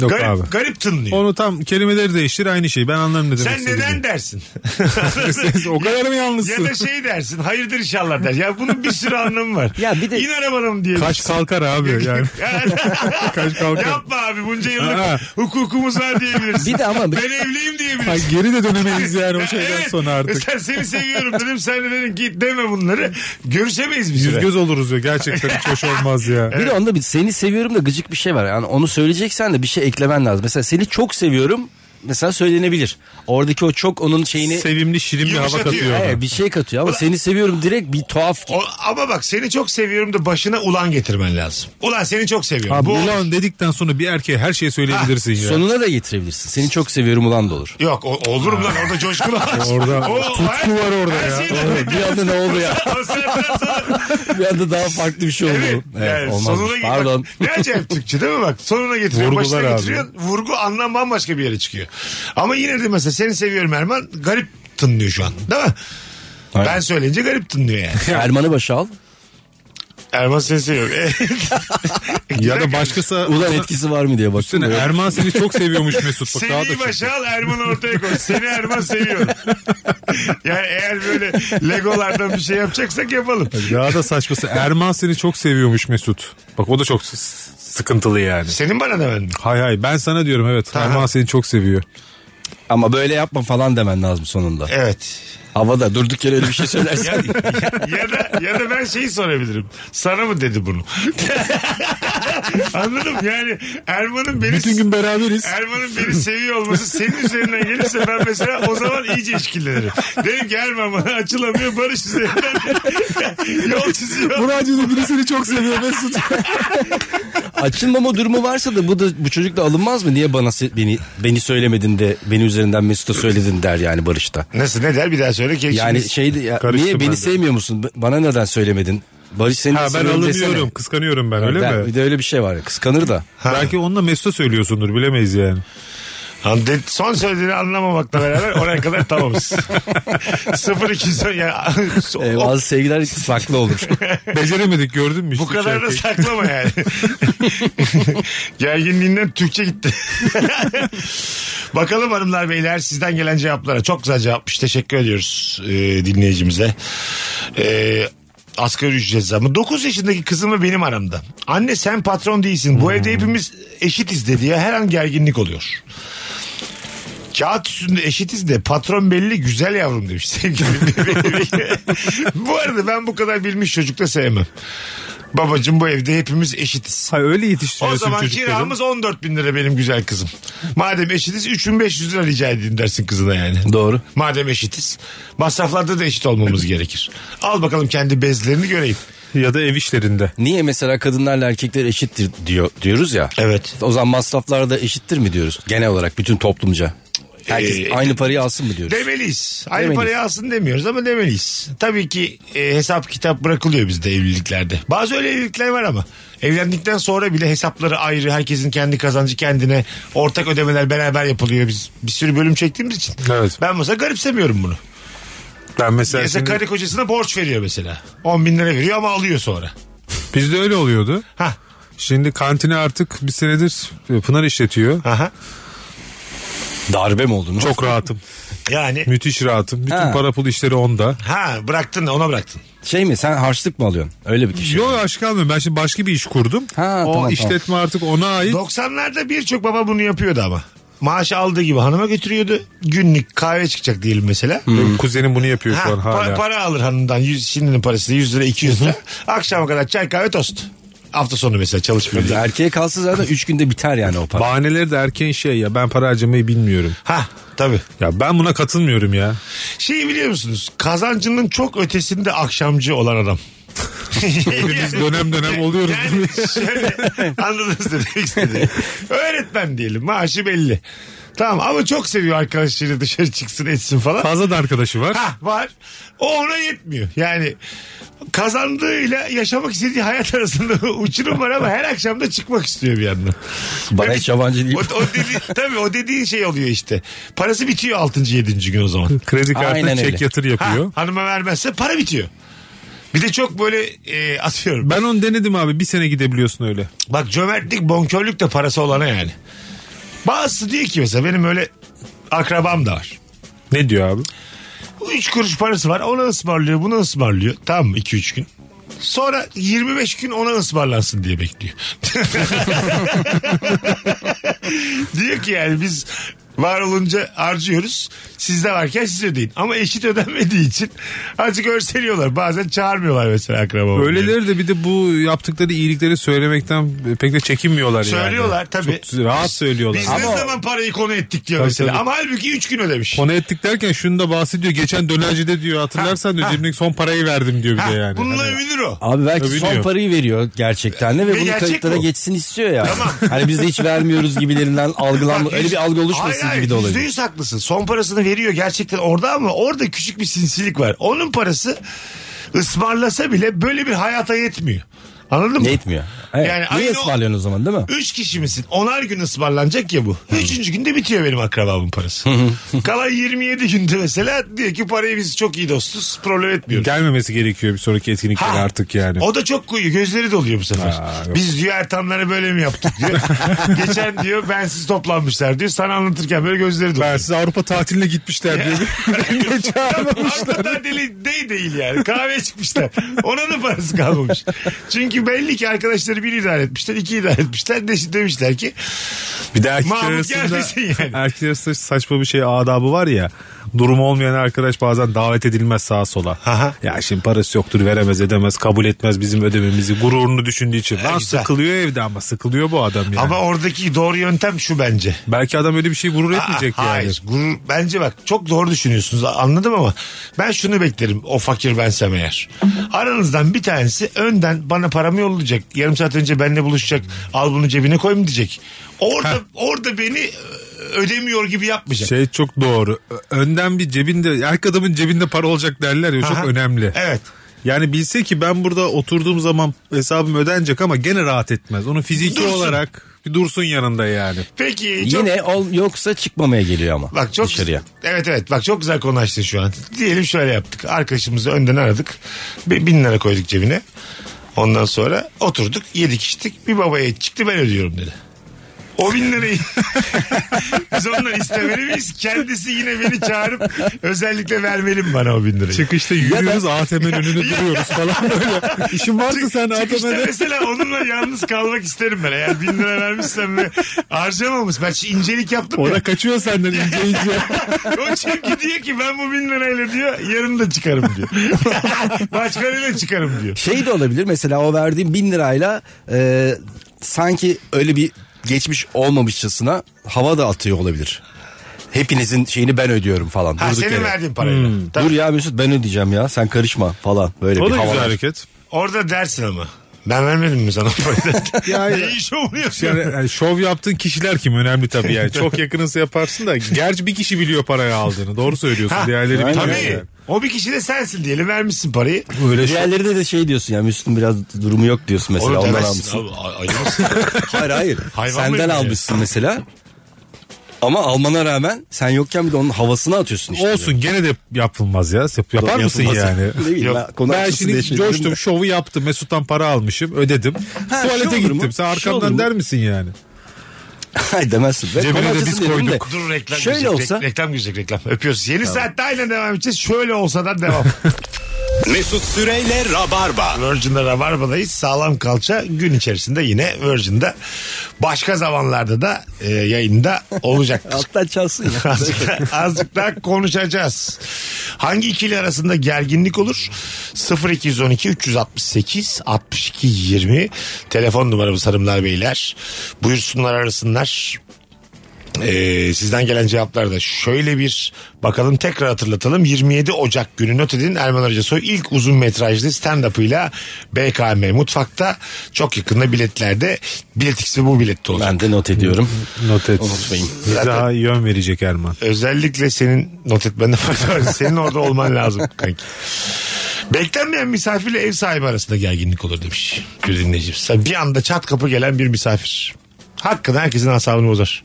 S5: Yok
S3: garip,
S5: abi.
S3: garip tınlıyor.
S5: ama onu tam kelimeleri değiştir aynı şey. Ben anlarım ne demek
S3: Sen
S5: istediğini.
S3: neden dersin?
S5: o kadar mı
S3: ya
S5: yalnızsın?
S3: da şey dersin. Hayırdır inşallah der. Ya bunun bir sürü anlamı var.
S4: Ya bir de-
S3: İn arabanım diye.
S5: Kaç kalkar abi yani. Kaç kalkar.
S3: Yapma abi bunca
S5: Ha.
S3: yıllık hukukumuz var diyebilirsin.
S4: Bir de ama-
S3: Ben evliyim diyebilirsin.
S5: Ay, geri de dönemeyiz yani o şeyden
S3: Evet.
S5: sonra artık.
S3: Mesela seni seviyorum dedim. Sen de dedin git deme bunları. Görüşemeyiz biz.
S5: Yüz göz oluruz ya gerçekten hiç hoş olmaz ya.
S4: Bir de onda bir seni seviyorum da gıcık bir şey var. Yani onu söyleyeceksen de bir şey eklemen lazım. Mesela seni çok seviyorum mesela söylenebilir. Oradaki o çok onun şeyini
S5: Sevimli şirin bir hava
S3: Yumuşatıyor.
S5: katıyor.
S4: Hayır,
S5: ona.
S4: bir şey katıyor ama seni seviyorum direkt bir tuhaf.
S3: O- ama bak seni çok seviyorum da başına ulan getirmen lazım. Ulan seni çok seviyorum.
S5: Abi
S3: Bu
S5: ulan dedikten sonra bir erkeğe her şeyi söyleyebilirsin ya.
S4: Sonuna da getirebilirsin. Seni çok seviyorum ulan da olur.
S3: Yok o, olurum lan orada coşku var.
S5: Orada tutku var orada ya.
S4: şey- bir anda ne oldu ya?
S3: O saatten sonra-
S4: Bir anda daha farklı bir şey oldu.
S3: Evet,
S4: Evet,
S3: yani
S4: olmaz.
S3: sonuna git- bak,
S4: Pardon.
S3: ne acayip Türkçe değil mi bak? Sonuna getiriyor,
S5: Vurgular
S3: başına
S5: abi.
S3: getiriyor. Vurgu anlam bambaşka bir yere çıkıyor. Ama yine de mesela seni seviyorum Erman. Garip tınlıyor şu an. Değil mi?
S4: Aynen.
S3: Ben söyleyince garip tınlıyor yani.
S4: Erman'ı başa al.
S3: Erman seni E, seviyorum.
S5: Ya da başkası
S4: Ulan etkisi var mı diye baksana.
S5: Üstüne er- Erman seni çok seviyormuş Mesut. Bak, daha da
S3: Seni
S5: çok.
S3: başa al Erman'ı ortaya koy. Seni Erman seviyorum. yani eğer böyle legolardan bir şey yapacaksak yapalım.
S5: Daha da saçması Erman seni çok seviyormuş Mesut. Bak o da çok s- sıkıntılı yani.
S3: Senin bana demen mi?
S5: Hay hay ben sana diyorum evet Erman seni çok seviyor. E-
S4: Ama böyle yapma falan demen lazım sonunda.
S3: Evet.
S4: Havada durduk yere öyle bir şey söylersen.
S3: Ya, ya da ya da ben şeyi sorabilirim. Sana mı dedi bunu? Anladım yani Erman'ın beni
S5: Bütün gün beraberiz.
S3: Erman'ın beni seviyor olması senin üzerinden gelirse ben mesela o zaman iyice işkillenirim. Derim ki Erman bana açılamıyor Barış üzerinden yol çiziyor.
S5: Bu radyoda biri seni çok seviyor Mesut.
S4: Açılmama durumu varsa da bu da bu çocuk da alınmaz mı? Niye bana se- beni beni söylemedin de beni üzerinden Mesut'a söyledin der yani Barış'ta.
S3: Nasıl ne der bir daha söyle ki.
S4: Yani
S3: şimdi-
S4: şey de- ya,
S5: Karıştım
S4: niye
S5: ben
S4: beni
S5: de.
S4: sevmiyor musun? B- Bana neden söylemedin? Barış seni
S5: Ha ben
S4: seviyorum desene.
S5: alınıyorum. Kıskanıyorum ben öyle
S4: Ben-
S5: mi?
S4: Bir de öyle bir şey var. ya, Kıskanır da.
S5: Belki onunla Mesut'a söylüyorsundur bilemeyiz yani.
S3: Lan de- son söylediğini anlamamakla beraber oraya kadar tamamız. 0 2 ya
S4: Ee,
S5: Oh.
S3: o-
S4: bazı sevgiler saklı olur.
S5: Beceremedik gördün mü?
S3: Bu
S5: işte
S3: kadar da
S5: çerkeği?
S3: saklama yani. Gerginliğinden Türkçe gitti. Bakalım hanımlar beyler sizden gelen cevaplara. Çok güzel cevapmış. Teşekkür ediyoruz e, dinleyicimize. E, asgari ücret zammı. 9 yaşındaki kızımı benim aramda. Anne sen patron değilsin. Bu evde hepimiz eşitiz dedi ya. Her an gerginlik oluyor. Kağıt üstünde eşitiz de patron belli güzel yavrum demiş sevgili bebeğim. bu arada ben bu kadar bilmiş çocuk da sevmem. Babacım bu evde hepimiz eşitiz.
S5: Ha öyle
S3: O
S5: yetiştiriyorsun
S3: zaman
S5: çocukları.
S3: kiramız 14 bin lira benim güzel kızım. Madem eşitiz 3500 lira rica edeyim dersin kızına yani.
S4: Doğru.
S3: Madem eşitiz. Masraflarda da eşit olmamız gerekir. Al bakalım kendi bezlerini göreyim.
S5: Ya da ev işlerinde.
S4: Niye mesela kadınlarla erkekler eşittir diyor diyoruz ya.
S3: Evet.
S4: O zaman masraflarda eşittir mi diyoruz? Genel olarak bütün toplumca. Herkes
S3: Ee,
S4: aynı parayı alsın mı diyoruz?
S3: Demeliyiz. Aynı
S4: Demeliyiz.
S3: parayı alsın demiyoruz ama demeliyiz. Tabii ki e, hesap kitap bırakılıyor bizde evliliklerde. Bazı öyle evlilikler var ama. Evlendikten sonra bile hesapları ayrı. Herkesin kendi kazancı kendine. Ortak ödemeler beraber yapılıyor. Biz bir sürü bölüm çektiğimiz için.
S5: Evet.
S3: Ben mesela garipsemiyorum bunu.
S5: Ben mesela
S3: Mesela
S5: şimdi-
S3: karı kocasına borç veriyor mesela. 10 bin lira veriyor ama alıyor sonra.
S5: bizde öyle oluyordu.
S3: Hah.
S5: Şimdi kantini artık bir senedir e, Pınar işletiyor.
S3: Aha.
S4: Darbe mi oldu? Çok
S5: Çok rahatım.
S3: Yani
S5: Müthiş rahatım. Bütün
S4: Ha.
S5: para pul işleri onda.
S3: ha bıraktın ona bıraktın.
S4: şey mi? Sen harçlık mı alıyorsun? Öyle bir kişi.
S5: Yok aşk almıyorum. Ben şimdi başka bir iş kurdum.
S4: Ha,
S5: o
S4: tamam,
S5: işletme artık ona ait.
S3: 90'larda birçok baba bunu yapıyordu ama. Maaşı aldığı gibi hanıma götürüyordu. Günlük kahve çıkacak diyelim mesela.
S5: Benim kuzenim bunu yapıyor
S3: Ha,
S5: şu an
S3: pa-
S5: hala.
S3: para alır hanımdan. Yüz, şimdinin parası da 100 lira 200 lira. Akşama kadar çay kahve tost. Hafta sonu mesela çalışmıyor. diye.
S4: Erkeğe kalsa zaten 3 günde biter yani o para.
S5: Bahaneleri de erken şey ya ben para harcamayı bilmiyorum.
S3: ha tabii.
S5: Ya ben buna katılmıyorum ya.
S3: Şeyi biliyor musunuz? Kazancının çok ötesinde akşamcı olan adam.
S5: Biz dönem dönem oluyoruz.
S3: Yani şöyle anladınız ne demek istediğimi. Öğretmen diyelim maaşı belli. Tamam ama çok seviyor arkadaşlarıyla dışarı çıksın etsin falan.
S5: Fazla da arkadaşı var.
S3: Ha var. O ona yetmiyor. Yani kazandığıyla yaşamak istediği hayat arasında uçurum var ama her akşam da çıkmak istiyor bir yandan.
S4: Bana hiç yabancı değil.
S3: O, o dedi, tabii o dediğin şey oluyor işte. Parası bitiyor 6. 7. gün o zaman.
S5: Kredi kartı
S4: Aynen
S5: çek
S4: öyle.
S5: yatır
S3: Ha,
S5: yapıyor.
S3: hanıma vermezse para bitiyor. Bir de çok böyle e, atıyorum.
S5: Ben onu denedim abi bir sene gidebiliyorsun öyle.
S3: Bak cömertlik bonkörlük de parası olana yani. Bazısı diyor ki mesela benim öyle akrabam da var.
S5: Ne diyor abi?
S3: Üç kuruş parası var ona ısmarlıyor buna ısmarlıyor. Tamam mı 2-3 gün. Sonra 25 gün ona ısmarlansın diye bekliyor. diyor ki yani biz var olunca harcıyoruz. Sizde varken siz ödeyin. Ama eşit ödenmediği için azıcık örseliyorlar. Bazen çağırmıyorlar mesela akrabamı.
S5: Öyleleri de bir de bu yaptıkları iyilikleri söylemekten pek de çekinmiyorlar yani.
S3: Söylüyorlar tabii.
S5: Çok rahat söylüyorlar.
S3: Biz
S5: Ama
S3: ne zaman parayı konu ettik diyor
S5: Tabii,
S3: mesela.
S5: tabii.
S3: Ama halbuki 3 gün ödemiş.
S5: Konu ettik derken şunu da bahsediyor. Geçen dönercide diyor hatırlarsan diyor
S3: Ha, ha.
S5: cebimdeki son parayı verdim diyor bir
S3: Ha,
S5: de yani.
S3: bununla
S5: Hani-
S3: övünür o.
S4: Abi belki
S5: Tabii
S4: son
S5: diyor.
S4: parayı veriyor gerçekten de ve
S3: Ve
S4: bunu
S3: gerçek
S4: kayıtlara
S3: bu.
S4: geçsin istiyor ya. Hani biz de hiç vermiyoruz gibilerinden algılanma
S3: Bak,
S4: öyle
S3: yüz-
S4: bir algı oluşmasın
S3: Hayır,
S4: gibi de
S3: hayır,
S4: olabilir.
S3: %100 haklısın. Son parasını veriyor gerçekten orada ama orada küçük bir sinsilik var. Onun parası ısmarlasa bile böyle bir hayata yetmiyor. Anladın mı?
S4: Ne etmiyor? Evet.
S3: Yani
S4: Niye
S3: aynı o-
S4: ısmarlıyorsun o zaman değil mi?
S3: Üç kişi misin? Onar gün ısmarlanacak ya bu. Üçüncü günde bitiyor benim akrabamın parası. Kalan 27 günde mesela diyor ki parayı biz çok iyi dostuz. Problem etmiyoruz.
S5: Gelmemesi gerekiyor bir sonraki etkinliklere
S3: Ha.
S5: artık yani.
S3: O da çok koyuyor. Gözleri doluyor bu sefer.
S5: Aa, yok.
S3: Biz diyor Ertanlara böyle mi yaptık diyor. Geçen diyor bensiz toplanmışlar diyor. Sana anlatırken böyle gözleri doluyor.
S5: Ben size Avrupa tatiline gitmişler diyor. Beni çağırmamışlar.
S3: Hakikaten deli değil değil yani. Kahve çıkmışlar. Ona da parası kalmamış. Çünkü belli ki arkadaşları bir idare etmişler, iki idare etmişler. De, demişler ki
S5: Bir de erkekler
S3: Mahmut
S5: arasında,
S3: gelmesin yani.
S5: erkekler arasında saçma bir şey adabı var ya. durumu olmayan arkadaş bazen davet edilmez sağa sola.
S3: Aha.
S5: ya şimdi parası yoktur veremez edemez kabul etmez bizim ödememizi gururunu düşündüğü için. Lan
S3: güzel.
S5: sıkılıyor evde ama sıkılıyor bu adam yani.
S3: Ama oradaki doğru yöntem şu bence.
S5: Belki adam öyle bir şey gurur etmeyecek
S3: Aa,
S5: yani.
S3: Hayır. Gurur, bence bak çok doğru düşünüyorsunuz anladım ama ben şunu beklerim o fakir bensem eğer. Aranızdan bir tanesi önden bana paramı yollayacak. Yarım saat önce benimle buluşacak. Al bunu cebine koy mu diyecek. Orada, orada beni e, ödemiyor gibi yapmayacak.
S5: Şey çok doğru. Ö- Önden bir cebinde, her adamın cebinde para olacak derler ya
S3: Aha.
S5: çok önemli.
S3: Evet.
S5: Yani bilse ki ben burada oturduğum zaman hesabım ödenecek ama gene rahat etmez. Onun fiziki
S3: Dursun.
S5: olarak bir dursun yanında yani.
S3: Peki. Çok...
S4: Yine ol, yoksa çıkmamaya geliyor ama
S3: Bak çok
S4: dışarıya.
S3: Evet evet bak çok güzel konu açtın şu an. Diyelim şöyle yaptık. Arkadaşımızı önden aradık. Bir, bin lira koyduk cebine. Ondan sonra oturduk yedik içtik. Bir babaya çıktı ben ödüyorum dedi. O bin lirayı biz ondan istemeli miyiz? Kendisi yine beni çağırıp özellikle vermeli mi bana o bin lirayı?
S5: Çıkışta yürüyoruz ATM'nin önünde duruyoruz falan böyle. İşin varsa
S3: Çık-
S5: sen
S3: çıkışta
S5: ATM'de.
S3: mesela onunla yalnız kalmak isterim ben. Eğer bin lira vermişsem ve harcamamış. Ben şimdi incelik yaptım ya.
S5: Ona kaçıyor senden ince ince.
S3: O çünkü diyor ki ben bu bin lirayla diyor yarın da çıkarım diyor. Başka ne çıkarım diyor.
S4: Şey de olabilir mesela o verdiğim bin lirayla e, sanki öyle bir geçmiş olmamışçasına hava da atıyor olabilir. Hepinizin şeyini ben ödüyorum falan.
S3: Ha
S4: durduk
S3: senin
S4: yere.
S3: verdiğin parayla. Tabii.
S4: Dur ya Mesut ben ödeyeceğim ya sen karışma falan böyle
S5: O
S4: bir
S5: da
S4: havalar.
S5: güzel hareket.
S3: Orada dersin ama. Ben vermedim mi sana parayı?
S5: Ya, Şey, ya.
S3: ne iş oluyor?
S5: Yani,
S3: yapıyorsun?
S5: yani şov yaptığın kişiler kim önemli tabii yani. Çok yakınınsa yaparsın da gerçi bir kişi biliyor parayı aldığını. Doğru söylüyorsun. Diğerleri bilmiyor.
S3: Tabii.
S5: yani.
S3: O bir kişi de sensin diyelim vermişsin parayı.
S4: Diğerlerine de şey diyorsun ya Müslüm biraz durumu yok diyorsun mesela
S3: Onu
S4: ondan
S3: demezsin.
S4: almışsın.
S3: Abi, ay- ayıpsın.
S4: Hayır hayır
S3: Hayvan mıyım
S4: senden
S3: ya?
S4: almışsın mesela ama almana rağmen sen yokken bir de onun havasını atıyorsun işte.
S5: Olsun gene de yapılmaz ya. Yap- Yapar mısın
S4: Yapılmaz.
S5: yani?
S4: Ne bileyim
S3: Yok.
S4: ben, konu
S5: Ben
S4: haklısın diye
S5: şimdi
S4: şey dedim
S5: coştum
S4: de.
S5: şovu yaptım Mesut'tan para almışım ödedim.
S4: Ha, şu
S5: Tuvalete
S4: olur mu?
S5: gittim sen
S4: Şu olur
S5: arkamdan
S4: mu?
S5: der misin yani?
S4: Hayır demezsin. Ben
S5: Cebine
S4: konu
S5: de
S4: haklısın
S5: biz
S4: dedim
S5: koyduk.
S3: Dur reklam
S4: Şöyle
S3: girecek.
S4: olsa-
S3: Rek- reklam girecek reklam. Öpüyoruz. Yeni saatte aynen devam edeceğiz. Şöyle olsadan devam.
S2: Mesut Süreyle Rabarba.
S3: Virgin'de Rabarba'dayız. Sağlam kalça gün içerisinde yine Virgin'de. Başka zamanlarda da e, yayında olacaktır.
S4: Alttan çalsın ya.
S3: azıcık, azıcık daha konuşacağız. Hangi ikili arasında gerginlik olur? 0212 368 62 20 telefon numaramız hanımlar beyler. Buyursunlar arasınlar. Ee, sizden gelen cevaplarda şöyle bir bakalım tekrar hatırlatalım 27 Ocak günü not edin Erman Arıca Soy ilk uzun metrajlı stand-up'ıyla BKM Mutfak'ta çok yakında biletlerde bilet X ve bu bilette olacak.
S4: Ben de not ediyorum.
S5: Not et.
S4: Unutmayın.
S5: Bize daha yön verecek Erman.
S3: Özellikle senin not etmende fayda var. Senin orada olman lazım kanki. Beklenmeyen misafirle ev sahibi arasında gerginlik olur demiş bir dinleyicimiz. Yani Bir anda çat kapı gelen bir misafir. Hakkında herkesin asabını bozar.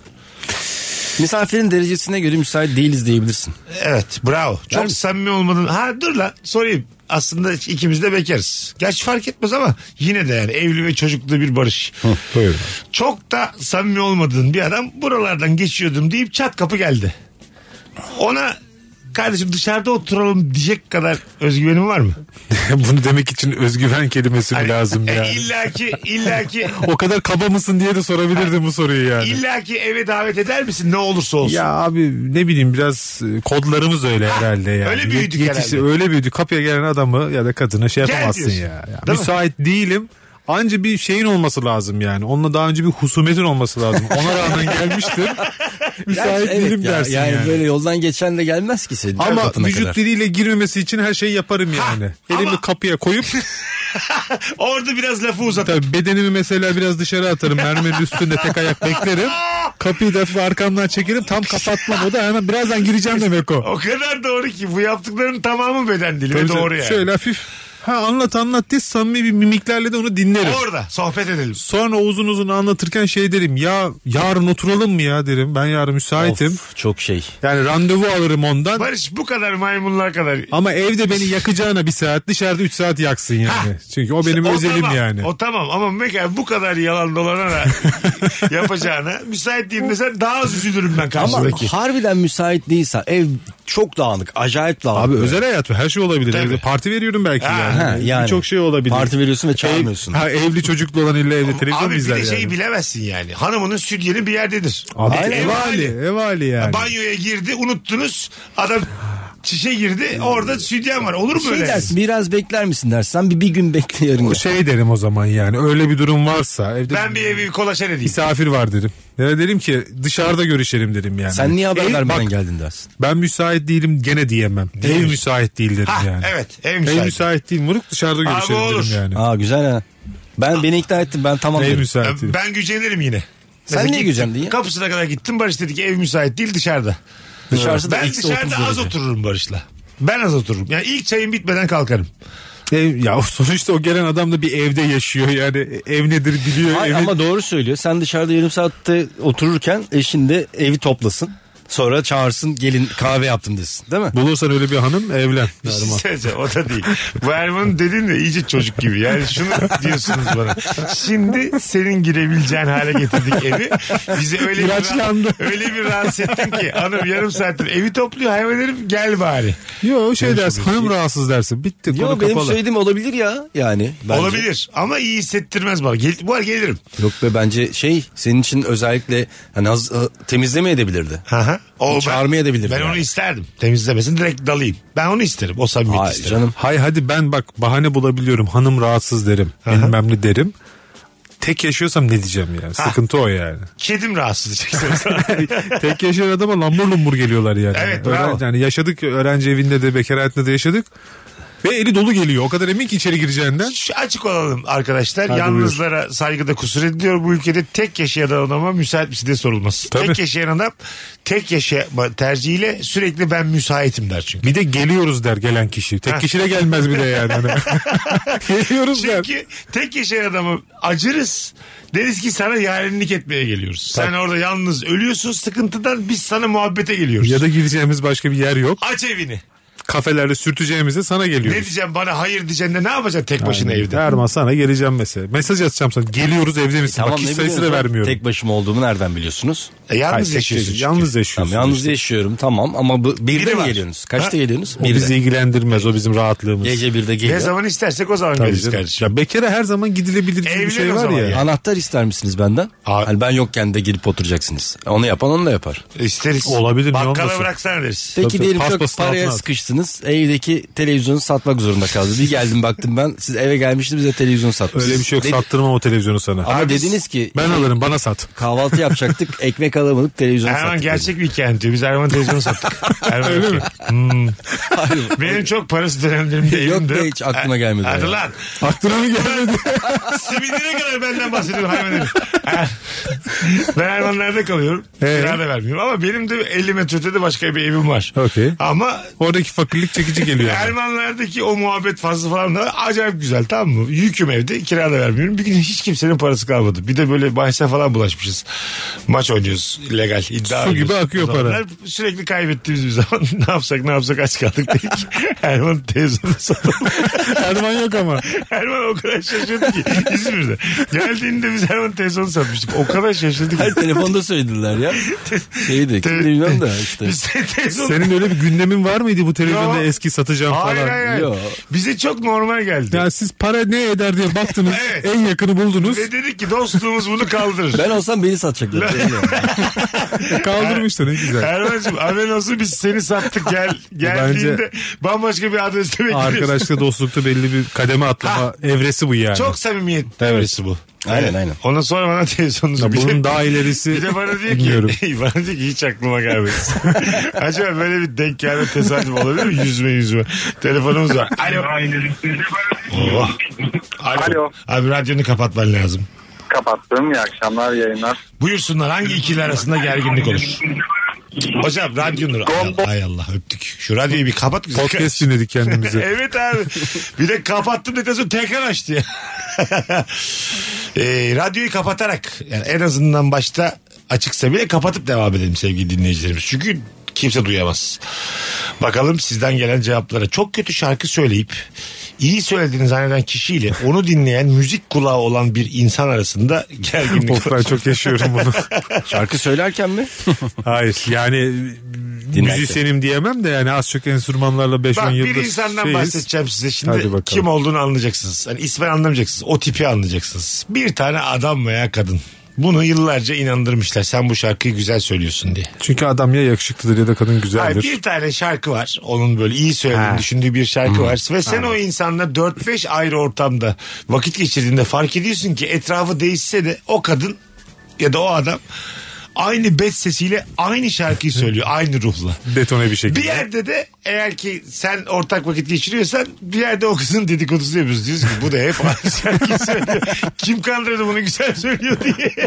S4: Misafirin derecesine göre müsait değiliz diyebilirsin.
S3: Evet bravo. Çok samimi olmadın. Ha dur lan sorayım. Aslında ikimiz de bekarız. Gerçi fark etmez ama yine de yani evli ve çocuklu bir barış.
S5: Buyurun.
S3: Çok da samimi olmadığın bir adam buralardan geçiyordum deyip çat kapı geldi. Ona kardeşim dışarıda oturalım diyecek kadar özgüvenin var mı? Hani
S5: Bunu demek için özgüven kelimesi mi lazım
S3: E,
S5: ya?
S3: İlla ki, illa ki,
S5: O kadar kaba mısın diye de sorabilirdim bu soruyu yani.
S3: illa ki eve davet eder misin ne olursa olsun?
S5: Ya abi ne bileyim biraz e, kodlarımız öyle herhalde yani.
S3: öyle
S5: Yet-
S3: büyüdük herhalde.
S5: Öyle büyüdük. Kapıya gelen adamı ya da kadını şey
S3: Gel
S5: yapamazsın
S3: diyorsun.
S5: ya. ya.
S3: Değil mi?
S5: Müsait değilim. Anca bir şeyin olması lazım yani. Onunla daha önce bir husumetin olması lazım. Ona rağmen gelmiştir. Müsait
S4: Evet
S5: değilim
S4: ya,
S5: dersin
S4: yani,
S5: yani.
S4: böyle yoldan geçen de gelmez ki senin
S5: Ama
S4: kapına
S5: vücut
S4: kadar.
S5: diliyle girmemesi için her şeyi yaparım yani. Elimi
S3: ama-
S5: kapıya koyup
S3: Orada biraz lafı uzatıp
S5: tabii bedenimi mesela biraz dışarı atarım. Mermerin üstünde tek ayak beklerim. Kapıyı da arkamdan çekerim. Tam kapatmam o da hemen birazdan gireceğim demek o.
S3: o kadar doğru ki bu yaptıkların tamamı beden dili ve
S5: Tabii
S3: doğru
S5: canım.
S3: yani.
S5: Şöyle hafif ha anlat anlat diye samimi bir mimiklerle de onu dinlerim.
S3: Orada sohbet edelim.
S5: Sonra uzun uzun anlatırken şey derim ya yarın oturalım mı ya derim. Ben yarın müsaitim.
S4: Of, çok şey.
S5: Yani randevu alırım ondan.
S3: Barış bu kadar maymunlar kadar.
S5: Ama evde beni yakacağına bir saat dışarıda 3 saat yaksın yani. Çünkü o benim özelim
S3: tamam,
S5: yani.
S3: O tamam ama mesela bu kadar yalan dolanarak yapacağına müsait değil mesela daha az üzülürüm ben
S4: Ama
S3: karşıdaki.
S4: harbiden müsait değilse ev çok dağınık acayip dağınık.
S5: Abi
S4: Böyle.
S5: özel hayat bu. Her şey olabilir. Evde parti veriyorum belki
S3: Ha,
S4: Ha,
S5: yani.
S4: yani.
S5: Birçok şey olabilir.
S4: Parti veriyorsun ve çağırmıyorsun.
S5: Ha, evli çocuklu olan illa evde televizyon
S3: Abi
S5: mu
S3: bir
S5: izler
S3: de şeyi
S5: yani?
S3: bilemezsin yani. Hanımının sütyeni bir yerdedir.
S5: Abi,
S4: Aynen.
S5: ev hali, ev hali yani.
S3: Banyoya girdi unuttunuz. Adam çişe girdi orada sütyen var. Olur mu
S4: Şey
S3: öyle?
S4: dersin biraz bekler misin dersin. Sen bir, bir gün bekle yarın.
S5: O
S4: gel.
S5: şey derim o zaman yani. Öyle bir durum varsa evde
S3: Ben bir evi kolaçan edeyim.
S5: misafir var derim. Ya derim ki dışarıda görüşelim derim yani.
S4: Sen niye haber
S5: Ev-
S4: vermeden
S5: bak,
S4: geldin dersin.
S5: Ben müsait değilim gene diyemem. Ev müsait değil derim
S3: Ha,
S5: yani.
S3: evet, ev
S5: Ev
S3: müsait.
S5: müsait değil moruk dışarıda
S3: Abi
S5: görüşelim
S3: olur.
S5: derim yani.
S4: Aa güzel ha. Ben beni ikna ettin ben tamam
S5: Ev
S4: dedim.
S5: müsait değil.
S3: Ben gücenirim yine.
S4: Sen
S3: Mesela
S4: niye
S3: gittim,
S4: gücendin ya?
S3: Kapısına kadar gittim Barış dedi ki ev müsait değil dışarıda.
S4: Dışarısı da
S3: ben
S4: eksi
S3: dışarıda
S4: 30
S3: az
S4: derece.
S3: otururum Barış'la. Ben az otururum. Yani ilk çayım bitmeden kalkarım.
S5: Ev, ya sonuçta o gelen adam da bir evde yaşıyor yani. Ev nedir biliyor.
S4: Ay,
S5: evin-
S4: ama doğru söylüyor. Sen dışarıda yarım saatte otururken eşin de evi toplasın. Sonra çağırsın gelin kahve yaptım desin değil mi?
S5: Bulursan öyle bir hanım evlen. Derman.
S3: Sadece şey o da değil. Bu Erman dedin de iyice çocuk gibi. Yani şunu diyorsunuz bana. Şimdi senin girebileceğin hale getirdik evi. Bizi öyle bir,
S5: İlaçlandı.
S3: öyle bir rahatsız ettin ki. Hanım yarım saattir evi topluyor hayvan herif gel bari.
S5: Yo şey dersin hanım rahatsız dersin. Bitti konu
S4: Yo, benim
S5: kapalı.
S4: söylediğim olabilir ya yani. bence.
S3: Olabilir ama iyi hissettirmez bana. Gel, bu ara gelirim.
S4: Yok be bence şey senin için özellikle hani az, ı, temizleme edebilirdi.
S3: Aha. O ben-
S4: Çağırmaya da
S3: Ben
S4: bilirdim yani.
S3: onu isterdim. Temizlemesin direkt dalayım. Ben onu isterim. O samimiyeti
S4: Hayır
S3: isterim.
S4: canım.
S5: Hay hadi ben bak bahane bulabiliyorum. Hanım rahatsız derim. Bilmem ne derim. Tek yaşıyorsam ne diyeceğim yani. Sıkıntı o yani.
S3: Kedim rahatsız edecek.
S5: Tek yaşayan adama lambur lumbur geliyorlar yani.
S3: Evet,
S5: Öğren-
S3: bravo.
S5: yani yaşadık öğrenci evinde de bekar hayatında da yaşadık. Ve eli dolu geliyor. O kadar emin ki içeri gireceğinden.
S3: Şu açık olalım arkadaşlar. Yalnızlara saygıda kusur ediliyor. Bu ülkede tek yaşayan adama müsait misin diye sorulmaz.
S5: Tabii.
S3: Tek yaşayan adam tek yaşama tercihiyle sürekli ben müsaitim der çünkü.
S5: Bir de geliyoruz der gelen kişi. Tek kişi de gelmez bile yani. Hani geliyoruz der.
S3: Çünkü tek yaşayan adamı acırız. Deriz ki sana yarenlik etmeye geliyoruz. Sen orada yalnız ölüyorsun sıkıntıdan biz sana muhabbete geliyoruz.
S5: Ya da gideceğimiz başka bir yer yok.
S3: Aç evini.
S5: Kafelerde sürteceğimizde sana
S3: Ne
S5: geliyoruz.
S3: diyeceğim bana hayır diyeceğim de ne yapacaksın tek başına evde?
S5: Erman sana geleceğim mesela. Mesaj atacağım sana. Geliyoruz evde misin? Bak hiç
S4: E, ne
S5: sayısı da
S4: biliyorsun?
S5: vermiyorum.
S4: Tek başıma olduğumu nereden biliyorsunuz?
S3: E, yalnız
S5: Hayır, tek
S3: yaşıyorsun.
S5: değil.
S3: çünkü.
S5: Yalnız yaşıyorsun.
S4: Tamam, yalnız yaşıyorum tamam ama bu, birde
S3: Biri
S4: mi
S3: var.
S4: geliyorsunuz? Kaçta
S3: Ha?
S4: geliyorsunuz?
S5: O
S4: Birde.
S5: bizi ilgilendirmez. O bizim rahatlığımız.
S4: Gece birde
S3: Ne
S4: geliyor.
S3: zaman istersek o zaman
S5: Tabii
S3: geliriz
S5: canım.
S3: kardeşim.
S5: Ya bekara her zaman gidilebilir diye bir
S3: Evlen
S5: şey
S3: o
S5: var
S3: zaman
S5: ya.
S3: ya.
S4: Anahtar ister misiniz benden?
S3: Aa.
S4: Hani ben yokken de girip oturacaksınız. Onu yapan onu da yapar.
S3: İsteriz.
S5: Olabilir, ne
S3: Bakkala
S5: olmasın?
S3: bıraksana deriz.
S4: Peki
S5: Tabii,
S4: diyelim
S5: tabii.
S4: çok
S5: Paspasın
S4: paraya
S5: altına at.
S4: sıkıştınız. Evdeki televizyonu satmak zorunda kaldı. Bir geldim baktım ben. Siz eve gelmiştiniz de televizyon satmışsınız.
S5: Öyle bir şey yok.
S4: Dedi-
S5: Sattırmam o televizyonu sana.
S4: Ama dediniz ki
S5: Ben alırım bana sat.
S4: kahvaltı yapacaktık. ekmek alamadık televizyonu
S3: Erman
S4: sattık.
S3: gerçek bir hikaye anlatıyor. Biz Erman televizyonu sattık. Erman Öyle mi? Benim çok parası dönemlerimde
S4: Yok
S3: evimde.
S4: be, hiç aklıma gelmedi
S3: Hadi
S4: ya.
S3: lan.
S5: Aklına mı gelmedi?
S3: Simidine kadar benden bahsediyorum hayvan herif. Er- ben Ermanlar'da kalıyorum.
S5: Ee?
S3: Kira da vermiyorum. Ama benim de 50 metrede de başka bir evim var.
S5: Okey.
S3: Ama
S5: Oradaki fakirlik çekici geliyor. yani.
S3: Ermanlardaki o muhabbet fazla falan da acayip güzel tamam mı? Yüküm evde kira da vermiyorum. Bir gün hiç kimsenin parası kalmadı. Bir de böyle bahse falan bulaşmışız. Maç oynuyoruz legal iddia
S5: Su gibi
S3: oynuyoruz.
S5: akıyor
S3: O zamanlar
S5: para.
S3: Sürekli kaybettiğimiz bir zaman ne yapsak ne yapsak aç kaldık dedik. Erman televizyonu satalım.
S5: Erman yok ama.
S3: Erman o kadar şaşırdı ki İzmir'de. Geldiğinde biz Erman televizyonu satmıştık. O kadar şaşırdı ki.
S4: Hayır telefonda söylediler ya. Şeydi kim bilmiyorum da işte.
S3: Biz televizyonu
S5: Senin öyle bir gündemin var mıydı bu televizyonda
S3: Yok.
S5: eski satacağım
S3: Hayır
S5: falan?
S3: hayır. hayır.
S4: Yo.
S3: Bize çok normal geldi.
S5: Ya siz para ne eder diye baktınız.
S3: Evet.
S5: En yakını buldunuz.
S3: Ve dedik ki dostluğumuz bunu kaldırır.
S4: Ben olsam beni satacaklar.
S5: Kaldırmıştı ne güzel.
S3: Erman'cığım haberin olsun biz seni sattık gel. Geldiğinde
S5: Bence-
S3: bambaşka bir adreste bekliyoruz.
S5: Arkadaşla dostlukta belli bir kademe atlama evresi bu yani.
S3: Çok samimiyet
S5: Evet.
S3: devresi bu.
S4: Aynen, aynen.
S3: Ona sonra bana televizyonunuzu
S5: Ya
S3: bir
S5: bunun
S3: de-
S5: daha ilerisi
S3: Bir de bana diyor
S5: bilmiyorum.
S3: ki, bana diyor ki hiç aklıma gelmedi. Acaba böyle bir denk gelme tesadüf olabilir mi? Yüzme yüzme. Telefonumuz var. Alo. Oh. Alo.
S7: Alo.
S3: Abi radyonu kapatman lazım.
S7: Kapattım. İyi akşamlar yayınlar.
S3: Buyursunlar hangi ikili arasında gerginlik olur? Hocam radyonu. Ay,
S7: Gondol-
S3: ay Allah öptük. Şu radyoyu bir kapat. güzel.
S5: Podcast dinledik kendimizi.
S3: evet abi. Bir de kapattım dedikten sonra tekrar açtı ya. Ee, radyoyu kapatarak yani en azından başta açıksa bile kapatıp devam edelim sevgili dinleyicilerimiz. Çünkü Kimse duyamaz. Bakalım sizden gelen cevaplara. Çok kötü şarkı söyleyip iyi söylediğini zanneden kişiyle onu dinleyen müzik kulağı olan bir insan arasında gerginlik
S5: Of ben
S3: var.
S5: çok yaşıyorum bunu.
S4: Şarkı söylerken mi?
S5: Hayır yani
S4: Dinlerken.
S5: müzisyenim diyemem de yani az çok enstrümanlarla 5-10
S3: Bak bir
S5: yıldır
S3: insandan
S5: şeyiz.
S3: bahsedeceğim size
S5: Hadi
S3: şimdi
S5: bakalım.
S3: kim olduğunu anlayacaksınız. Hani ismen anlamayacaksınız. O tipi anlayacaksınız. Bir tane adam veya kadın. Bunu yıllarca inandırmışlar. Sen bu şarkıyı güzel söylüyorsun diye.
S5: Çünkü adam ya yakışıklıdır ya da kadın
S3: Hayır,
S5: güzeldir.
S3: bir tane şarkı var. Onun böyle iyi söylediğini düşündüğü bir şarkı var. Ve sen o insanla 4-5 ayrı ortamda vakit geçirdiğinde fark ediyorsun ki etrafı değişse de o kadın ya da o adam aynı bet sesiyle aynı şarkıyı söylüyor. aynı ruhla.
S5: Detone bir şekilde.
S3: Bir yerde de eğer ki sen ortak vakit geçiriyorsan bir yerde o kızın dedikodusunu yapıyoruz. Diyoruz ki bu da hep aynı şarkıyı söylüyor. Kim kandırdı bunu güzel söylüyor diye.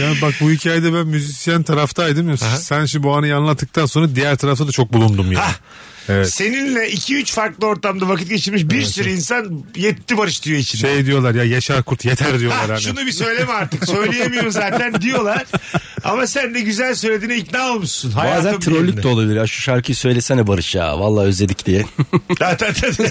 S5: Ya bak bu hikayede ben müzisyen taraftaydım ya. Sen şimdi bu anıyı anlattıktan sonra diğer tarafta da çok bulundum ya.
S3: Ah.
S5: Evet.
S3: Seninle 2-3 farklı ortamda vakit geçirmiş bir sürü insan yetti barış diyor içinde.
S5: Şey diyorlar ya Yaşar Kurt yeter
S3: Ha,
S5: diyorlar hani.
S3: Ah, şunu bir söyleme artık. Söyleyemiyorum zaten diyorlar. Ama sen de güzel söylediğine ikna olmuşsun.
S4: Bazen
S3: Hayatın bir
S4: trollük
S3: yerinde.
S4: de olabilir. Ya şu şarkıyı söylesene Barış ya. Vallahi özledik diye.
S3: Ta, ta, ta, ta.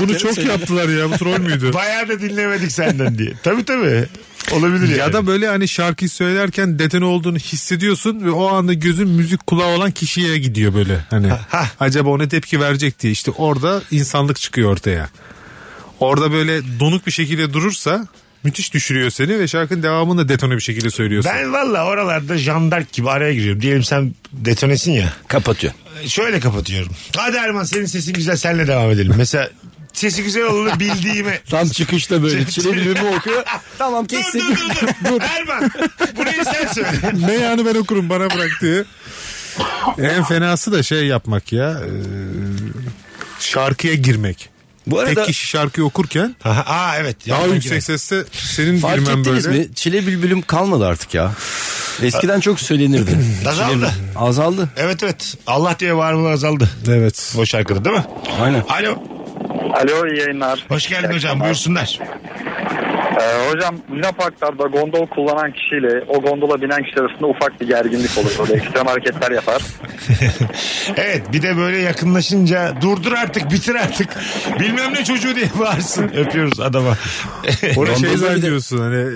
S5: bunu çok yaptılar ya bu troll müydü?
S3: Bayağı da dinlemedik senden diye. Tabii tabii. Olabilir yani.
S5: Ya da böyle hani şarkıyı söylerken detone olduğunu hissediyorsun ve o anda gözün müzik kulağı olan kişiye gidiyor böyle. Hani
S3: ha.
S5: acaba ona tepki verecek diye işte orada insanlık çıkıyor ortaya. Orada böyle donuk bir şekilde durursa müthiş düşürüyor seni ve şarkının devamını da detone bir şekilde söylüyorsun.
S3: Ben valla oralarda jandark gibi araya giriyorum. Diyelim sen detonesin ya.
S4: Kapatıyor.
S3: Şöyle kapatıyorum. Hadi Erman senin sesin güzel senle devam edelim. Mesela sesi güzel olanı bildiğime.
S4: Tam çıkışta böyle çile bilimi okuyor. Tamam
S3: dur
S4: kesin.
S3: dur dur. dur. Erman burayı sen söyle.
S5: Meyanı ben okurum bana bırak diye. En fenası da şey yapmak ya. e, şarkıya girmek.
S4: Bu arada
S5: Tek kişi şarkıyı okurken
S3: Aha, Aa evet.
S5: daha
S3: Yandan
S5: yüksek
S3: girer.
S5: sesle senin
S4: fark
S5: girmen
S4: ettiniz
S5: böyle.
S4: mi? Çile bülbülüm kalmadı artık ya. Eskiden çok söylenirdi. Çile
S3: Azaldı.
S4: bülbülüm. Azaldı.
S3: Evet evet. Allah diye bağırmalar azaldı.
S5: Evet.
S3: O şarkıda değil mi?
S4: Aynen.
S3: Alo.
S7: Alo iyi yayınlar.
S3: Hoş geldin hocam buyursunlar.
S7: Ee, hocam Luna Parklar'da gondol kullanan kişiyle o gondola binen kişi arasında ufak bir gerginlik olur. Böyle ekstrem hareketler yapar.
S3: Evet bir de böyle yakınlaşınca durdur artık bitir artık. Bilmem ne çocuğu diye bağırsın. Öpüyoruz adama.
S5: Orada
S4: Gondolda
S5: şey
S4: bir de-
S5: zannediyorsun hani e,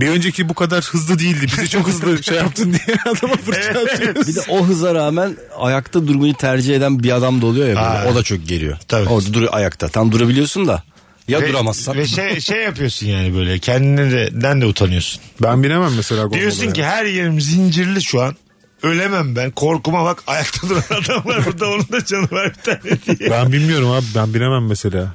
S5: bir önceki bu kadar hızlı değildi. Bizi çok hızlı şey yaptın diye adama fırça atıyorsun.
S4: Bir de o hıza rağmen ayakta durmayı tercih eden bir adam da oluyor ya. böyle. O da çok geliyor.
S3: Tabii.
S4: Orada dur ayakta. Tam durabiliyorsun da. Ya duramazsan.
S3: Ve şey, şey yapıyorsun yani böyle kendine de, den de utanıyorsun.
S5: Ben binemem mesela gondola.
S3: Diyorsun ki her yerim zincirli şu an. Ölemem ben. Korkuma bak ayakta duran adam var burada onun da canı var bir tane diye.
S5: Ben bilmiyorum abi ben binemem mesela.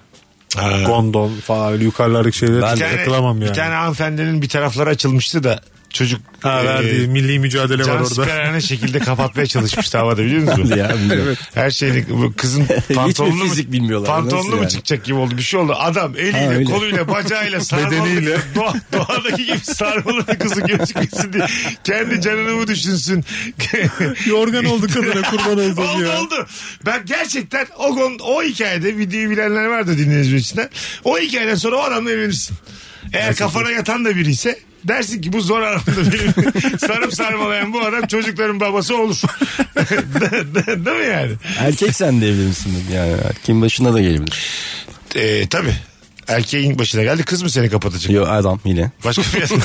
S3: Ha.
S5: Gondol falan öyle yukarılardaki şeylere
S4: Ben-
S3: Bir tane-
S5: takılamam yani.
S3: Bir tane hanımefendinin bir tarafları açılmıştı da çocuk
S5: Ha, verdiği
S3: e,
S5: milli mücadele var
S3: can
S5: orada.
S3: siperhane şekilde kapatmaya çalışmıştı havada biliyor musun?
S4: Ya, bilmiyorum.
S3: Her şeylik bu kızın pantolonlu mu,
S4: fizik bilmiyorlar?
S3: Pantolonlu
S4: Nasıl
S3: mu
S4: yani?
S3: çıkacak gibi oldu. Bir şey oldu. Adam
S4: Ha,
S3: eliyle,
S4: öyle.
S3: koluyla, bacağıyla sarmalı.
S5: Bedeniyle.
S3: Doğa, doğadaki gibi sarmalı bir kızı gözükmesin diye. Kendi canını mı düşünsün?
S5: Yorgan oldu kadına kurban oldum
S3: oldu
S5: ya.
S3: oldu. Ben gerçekten o, gon- o hikayede videoyu bilenler vardı dinleyiciler içinden. O hikayeden sonra o adamla evlenirsin. Eğer kafana yatan da biri ise dersin ki bu zor aramda benim. Sarıp sarmalayan bu adam çocukların babası olur. Değil mi yani?
S4: Erkek sen de evlenirsin yani. Erkeğin başına da gelebilir.
S3: E, tabii. Erkeğin başına geldi kız mı seni kapatacak?
S4: Yo adam yine.
S3: Başka bir adam.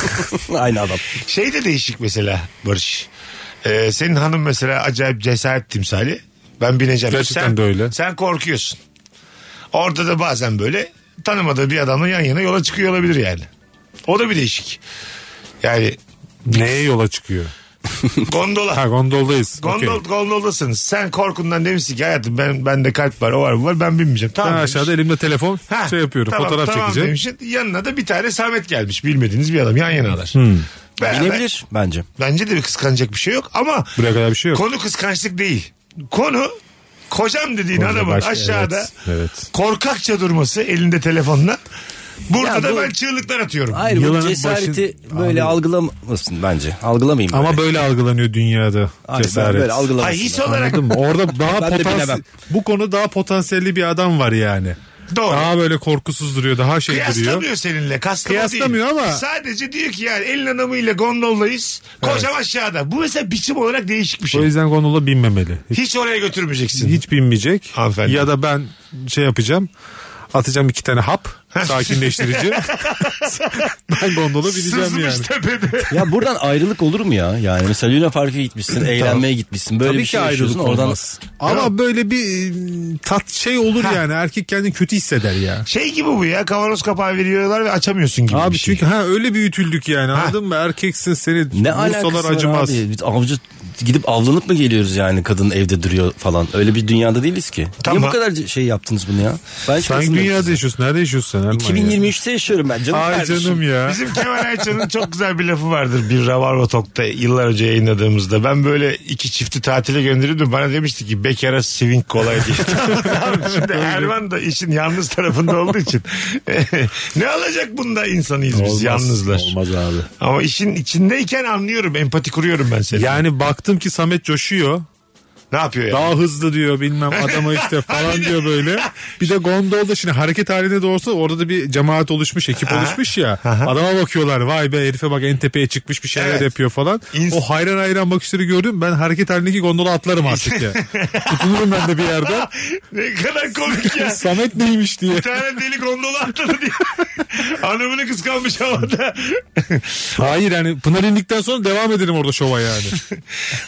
S4: Aynı adam.
S3: Şey de değişik mesela Barış. E, senin hanım mesela acayip cesaret timsali. Ben bineceğim.
S5: Gerçekten
S3: sen,
S5: de öyle.
S3: Sen korkuyorsun. Orada da bazen böyle tanımadığı bir adamla yan yana yola çıkıyor olabilir yani. O da bir değişik. Yani
S5: Neye yola çıkıyor?
S3: gondola.
S5: Ha gondoldayız. Okey.
S3: Gondol, Gondoldasınız. Sen korkundan demişsin ki hayatım ben bende kalp var o var bu var ben binmeyeceğim. Tamam
S5: Ben
S3: demiş.
S5: aşağıda elimde telefon
S3: Ha,
S5: şey yapıyorum
S3: tamam,
S5: fotoğraf
S3: tamam
S5: çekeceğim.
S3: demişsin. Yanına da bir tane Samet gelmiş bilmediğiniz bir adam yan yanalar.
S5: Hmm.
S3: Beraber-
S4: Binebilir bence.
S3: Bence de bir kıskanacak bir şey yok ama
S5: Buraya kadar bir şey yok.
S3: konu kıskançlık değil. Konu kocam dediğin
S5: Koca
S3: adamın
S5: baş-
S3: aşağıda
S5: evet, evet.
S3: korkakça durması elinde telefonla. Burada
S4: Ya
S3: da
S4: bu-
S3: ben çığlıklar atıyorum.
S4: Hayır bu
S5: Yılanın
S4: cesareti böyle algılamasın bence. Algılamayayım.
S5: Ama böyle algılanıyor dünyada
S4: Hayır, ben
S5: cesaret.
S4: Böyle algılamasın.
S3: Ay, his olarak
S5: Anladın mı? Orada daha
S4: Ben de
S5: potansiyel
S4: bilemem.
S5: bu konu daha potansiyelli bir adam var yani.
S3: Doğru.
S5: Daha böyle korkusuz duruyor. Daha şey duruyor.
S3: Kıyaslamıyor seninle. Kaslama
S5: Kıyaslamıyor
S3: değil.
S5: ama-
S3: Sadece diyor ki yani elin hanımıyla gondoldayız. Kocam aşağıda. Bu mesela biçim olarak değişik bir
S5: O
S3: şey.
S5: yüzden gondola binmemeli. Hiç,
S3: Hiç oraya götürmeyeceksin.
S5: hiç binmeyecek.
S3: Hanımefendi.
S5: Ya da ben şey yapacağım. Atacağım iki tane hap. Sakinleştirici. ben gondola bineceğim
S3: Sızmış
S5: yani.
S3: tepede.
S8: Ya buradan ayrılık olur mu ya? Yani mesela Luna Park'a gitmişsin, eğlenmeye gitmişsin. Böyle bir
S5: Tabii
S8: şey
S5: ki ayrılık
S8: yaşıyorsun. Oradan
S5: olmaz. Ama böyle bir e, tat şey olur yani. Erkek kendini kötü hisseder ya.
S3: Şey gibi bu ya kavanoz kapağı veriyorlar ve açamıyorsun gibi
S5: Abi
S3: bir şey.
S5: çünkü ha öyle büyütüldük yani anladın mı? Erkeksin seni
S8: ne
S5: ne
S8: alakası var
S5: acımaz.
S8: abi? Biz avcı gidip avlanıp mı geliyoruz yani kadın evde duruyor falan. Öyle bir dünyada değiliz ki.
S3: Tamam.
S8: Niye bu kadar şey yaptınız bunu ya? Ben hiç
S5: Sen
S8: katılmıyorum
S5: dünyada
S8: size.
S5: yaşıyorsun. Nerede yaşıyorsun sen? Erman ya?
S8: 2023'te yaşıyorum ben canım.
S5: Ay
S8: kardeşim.
S5: canım ya.
S3: Bizim Kemal Ayça'nın çok güzel bir lafı vardır bir Rabarba Tok'ta yıllar önce yayınladığımızda. Ben böyle iki çifti tatile gönderirdim. Bana demişti ki bekara swing kolay diye. Şimdi Erman da işin yalnız tarafında olduğu için. ne olacak bunda insanıyız biz yalnızlar.
S8: Olmaz abi.
S3: Ama işin içindeyken anlıyorum. Empati kuruyorum ben seni.
S5: Yani baktım ki Samet coşuyor.
S3: ne yapıyor ya?
S5: Daha hızlı diyor bilmem adama işte falan diyor böyle. Bir de gondolda şimdi hareket halinde de olsa orada da bir cemaat oluşmuş ekip oluşmuş ya. Adama bakıyorlar vay be herife bak en tepeye çıkmış bir şeyler
S3: Evet.
S5: yapıyor falan.
S3: İns-
S5: o hayran hayran bakışları gördüm ben hareket halindeki gondola atlarım artık ya. Tutunurum ben de bir yerde. "E,
S3: Ne kadar komik ya.
S5: Samet neymiş diye.
S3: Bir tane deli gondola atladı diye. Hanımını kıskanmış havada.
S5: Hayır yani Pınar indikten sonra devam edelim orada şova yani.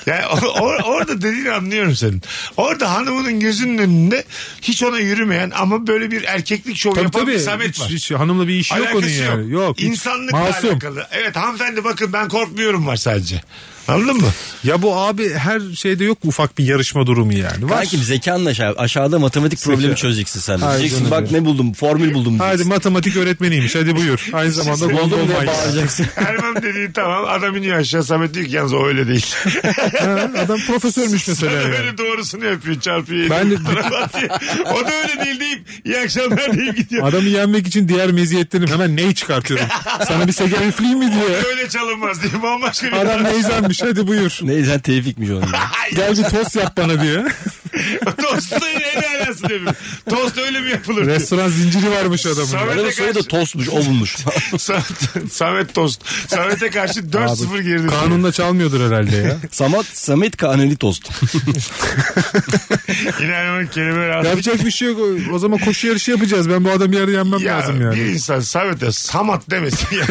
S3: Yani o- o- orada dediğini anlıyorum senin. Orada hanımının gözünün önünde hiç ona yürümeyen ama böyle bir erkeklik şovu
S5: tabii
S3: yapan
S5: tabii.
S3: bir Samet
S5: Hiç-
S3: var.
S5: hiç hanımla bir işi yok onun
S3: Alakası
S5: yani. Yok. hiç.
S3: İnsanlıkla alakalı. Evet hanımefendi bakın ben korkmuyorum var sadece. Anladın mı?
S5: Ya bu abi her şeyde yok mu ufak bir yarışma durumu yani? Var.
S8: Kankim zekanla aşağı, aşağıda matematik problemi çözeceksin sen. de.
S5: Ay
S8: Diyeceksin
S5: canım
S8: bak
S5: ya.
S8: ne buldum formül buldum.
S5: Hadi
S8: diyeceksin.
S5: matematik öğretmeniymiş hadi buyur. Aynı zamanda
S8: Buldum
S5: gondol
S8: diye
S5: manyağı.
S8: bağıracaksın.
S3: Ermem dediği tamam adam iniyor aşağı Samet diyor ki yalnız o öyle değil.
S5: Ha, Adam profesörmüş
S3: Sana
S5: mesela yani.
S3: böyle doğrusunu yapıyor çarpıyor.
S5: Ben de-
S3: tarafa atıyor. o da öyle değil deyip iyi akşamlar deyip gidiyor.
S5: Adamı yenmek için diğer meziyetlerini hemen neyi çıkartıyorum? Sana bir seker üfleyeyim mi diye.
S3: Böyle çalınmaz diye bambaşka bir
S5: Adam neyzenmiş hadi buyur.
S8: Neyse tevfikmiş onun. ya.
S5: Gel bir tost yap bana diye.
S3: Tostla yine el alası demiş. Tost öyle mi yapılır?
S5: Restoran zinciri varmış adamın.
S3: Samet'e
S8: Adamın soyu da
S3: karşı,
S8: tostmuş o bulmuş.
S3: Samet, Samet tost. Samet'e karşı 4-0 girdi.
S5: Kanunda çalmıyordur herhalde ya.
S8: Samet, Samet Kaneli tost.
S3: İnanın kelime
S5: Yapacak bir şey yok. O zaman koşu yarışı yapacağız. Ben bu adamı yarı yenmem
S3: Ya
S5: lazım yani.
S3: bir insan Samet'e Samat demesin ya.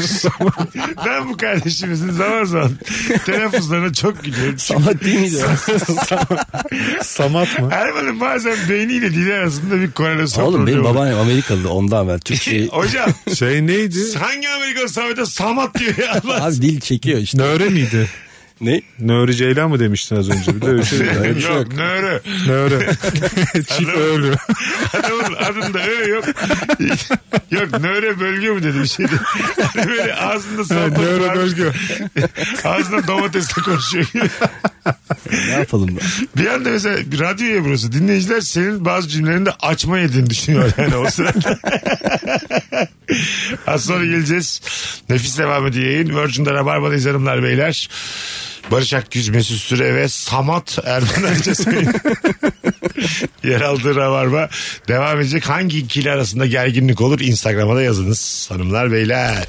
S3: ben bu kardeşimizin zaman zaman telaffuzlarına çok gülüyorum. Çünkü
S8: Samet değil miydi? o?
S5: Samat mı?
S3: Erman'ın bazen beyniyle dili arasında bir korelasyon
S8: Oğlum benim
S3: problemi var.
S8: babaannem Amerikalı ondan ben Türkçe
S3: Hocam
S5: Şey neydi?
S3: hangi Amerikalı Samet'e Samat diyor ya Allah.
S8: Abi dil çekiyor işte.
S5: Nöre miydi?
S8: Ne?
S5: Nöre Ceylan mı demiştin az önce? Bir de öyle şey.
S8: Öyle bir şey yok.
S3: Yok nöro.
S5: Nöre. Çift öyle.
S3: Adamın adında ö yok. yok nöre bölge mi dedi bir şey dedi. Hani böyle ağzında salatalık
S5: nöre
S3: varmış.
S5: bölge.
S3: Ağzında domatesle konuşuyor. gibi.
S8: Ne yapalım?
S3: bir anda mesela bir radyo ya burası. Dinleyiciler senin bazı cümlelerini de açma yediğini düşünüyor yani o sırada. Az sonra geleceğiz. Nefis devam ediyor yayın. Virgin'de Rabarba'dayız hanımlar beyler. Barış Akgüz, Mesut Süre ve Samat Erman Ercesi'nin yer aldığı Rabarba devam edecek. Hangi ikili arasında gerginlik olur? Instagram'a da yazınız hanımlar beyler.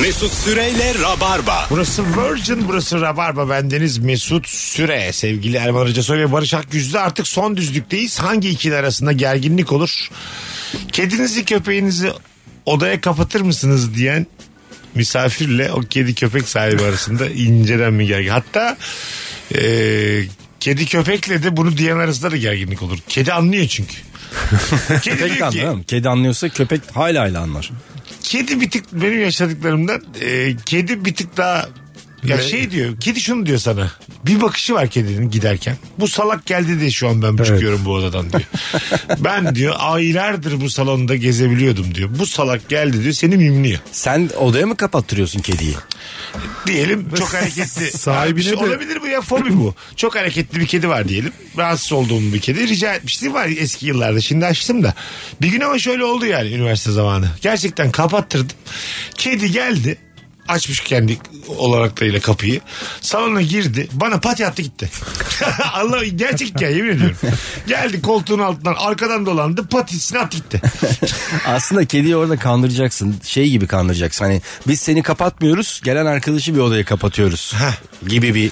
S2: Mesut Süreyle Rabarba.
S3: Burası Virgin, burası Rabarba. Bendeniz Mesut Süre. Sevgili Erman Arıca Soy ve Barış Akgüz'de artık son düzlükteyiz. Hangi ikili arasında gerginlik olur? Kedinizi köpeğinizi odaya kapatır mısınız diyen misafirle o kedi köpek sahibi arasında inceden bir gergin. Hatta e, kedi köpekle de bunu diyen arasında da gerginlik olur. Kedi anlıyor çünkü. kedi
S8: Köpek de
S3: diyor ki,
S8: anlıyor musun? Kedi anlıyorsa köpek hala hala anlar.
S3: kedi bir tık benim yaşadıklarımdan e, kedi bir tık daha ya şey diyor kedi şunu diyor sana bir bakışı var kedinin giderken bu salak geldi de şu an ben çıkıyorum bu odadan diyor ben diyor aylardır bu salonda gezebiliyordum diyor bu salak geldi diyor seni mimliyor
S8: Sen odaya mı kapattırıyorsun kediyi?
S3: diyelim çok hareketli
S5: Sahibine
S3: Abi,
S5: de-
S3: olabilir bu ya fobi bu çok hareketli bir kedi var diyelim rahatsız olduğum bir kedi rica etmiştim var eski yıllarda şimdi açtım da bir gün ama şöyle oldu yani üniversite zamanı gerçekten kapattırdım kedi geldi açmış kendi olaraklarıyla kapıyı. Salona girdi. Bana pati attı gitti. Allah gerçekten yemin ediyorum. Geldi koltuğun altından arkadan dolandı patisini attı gitti.
S4: Aslında kediyi orada kandıracaksın. Şey gibi kandıracaksın. Hani biz seni kapatmıyoruz. Gelen arkadaşı bir odaya kapatıyoruz. gibi bir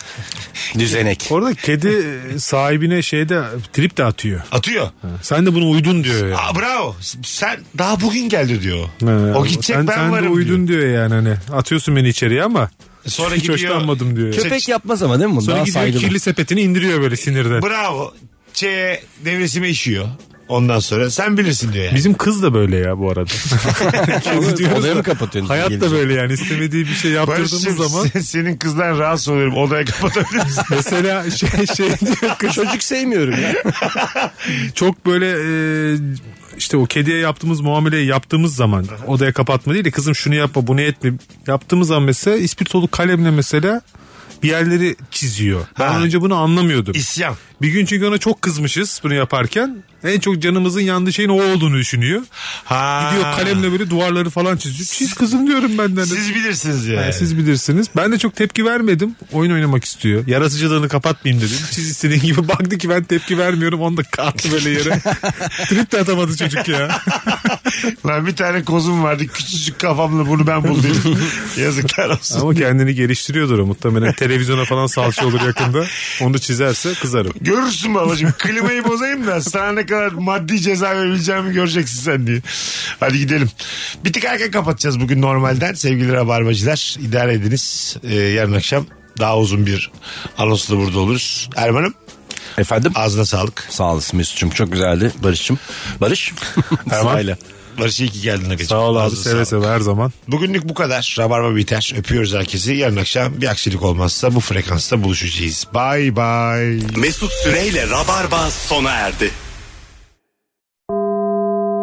S4: düzenek.
S5: Orada kedi sahibine şeyde trip de atıyor.
S3: Atıyor.
S5: Sen de bunu uydun diyor ya.
S3: Aa, bravo. Sen daha bugün geldi diyor.
S5: Ha,
S3: o gidecek
S5: sen,
S3: ben
S5: sen
S3: varım
S5: de uydun diyor. yani hani. Atıyorsun beni içeriye ama
S3: diyor. Sonra
S5: hiç hoşlanmadım diyor.
S4: Köpek yapmaz ama değil mi? bunu?
S5: Sonra
S4: Daha
S5: gidiyor
S4: saygılı.
S5: kirli sepetini indiriyor böyle sinirden.
S3: Bravo. Çeye devresime işiyor. Ondan sonra sen bilirsin diyor yani.
S5: Bizim kız da böyle ya bu arada. Kedi diyoruz
S4: odaya
S5: da,
S4: mı kapatıyorsunuz?
S5: Hayat da
S4: Gelecek.
S5: böyle yani istemediği bir şey
S3: Barış'cığım,
S5: yaptırdığımız zaman.
S3: sen- senin kızdan rahatsız oluyorum. Odaya kapatabilir misin?
S5: Mesela şey, şey diyor kız
S4: Çocuk sevmiyorum ya.
S5: çok böyle e, işte o kediye yaptığımız muameleyi yaptığımız zaman odaya kapatma değil de kızım şunu yapma bunu etme yaptığımız zaman mesela ispirtolu kalemle mesela bir yerleri çiziyor. Ben
S3: Ha.
S5: önce bunu anlamıyordum.
S3: İsyan.
S5: Bir gün çünkü ona çok kızmışız bunu yaparken. En çok canımızın yandığı şeyin o olduğunu düşünüyor.
S3: Ha.
S5: Gidiyor kalemle böyle duvarları falan çiziyor. Çiz kızım diyorum hani. benden.
S3: Siz bilirsiniz yani.
S5: Yani siz bilirsiniz. Ben de çok tepki vermedim. Oyun oynamak istiyor. Yaratıcılığını kapatmayayım dedim. Siz istediğin gibi baktı ki ben tepki vermiyorum. Onu da kalktı böyle yere. Trip de atamadı çocuk ya.
S3: Lan bir tane kozum vardı küçücük kafamla bunu ben buldum. Yazıklar olsun.
S5: Ama kendini geliştiriyordur o muhtemelen. Televizyona falan salça olur yakında. Onu çizerse kızarım.
S3: Görürsün babacığım klimayı bozayım da sana ne kadar maddi ceza verebileceğimi göreceksin sen diye. Hadi gidelim. Bir tık erken kapatacağız bugün normalden sevgili rabarbacılar. idare ediniz. Ee, yarın akşam daha uzun bir anonsla burada oluruz. Erman'ım
S4: Efendim?
S3: ağzına sağlık.
S4: Sağ olasın Mesut'cum. Çok güzeldi Barış'cım. Barış. Sırayla.
S3: Barış iyi ki geldin Akacığım.
S5: Sağ ol abi
S3: Ağzına
S5: seve
S3: sağlık.
S5: seve her zaman.
S3: Bugünlük bu kadar. Rabarba biter. Öpüyoruz herkesi. Yarın akşam bir aksilik olmazsa bu frekansta buluşacağız. Bay bay.
S2: Mesut Süreyle Rabarba sona erdi.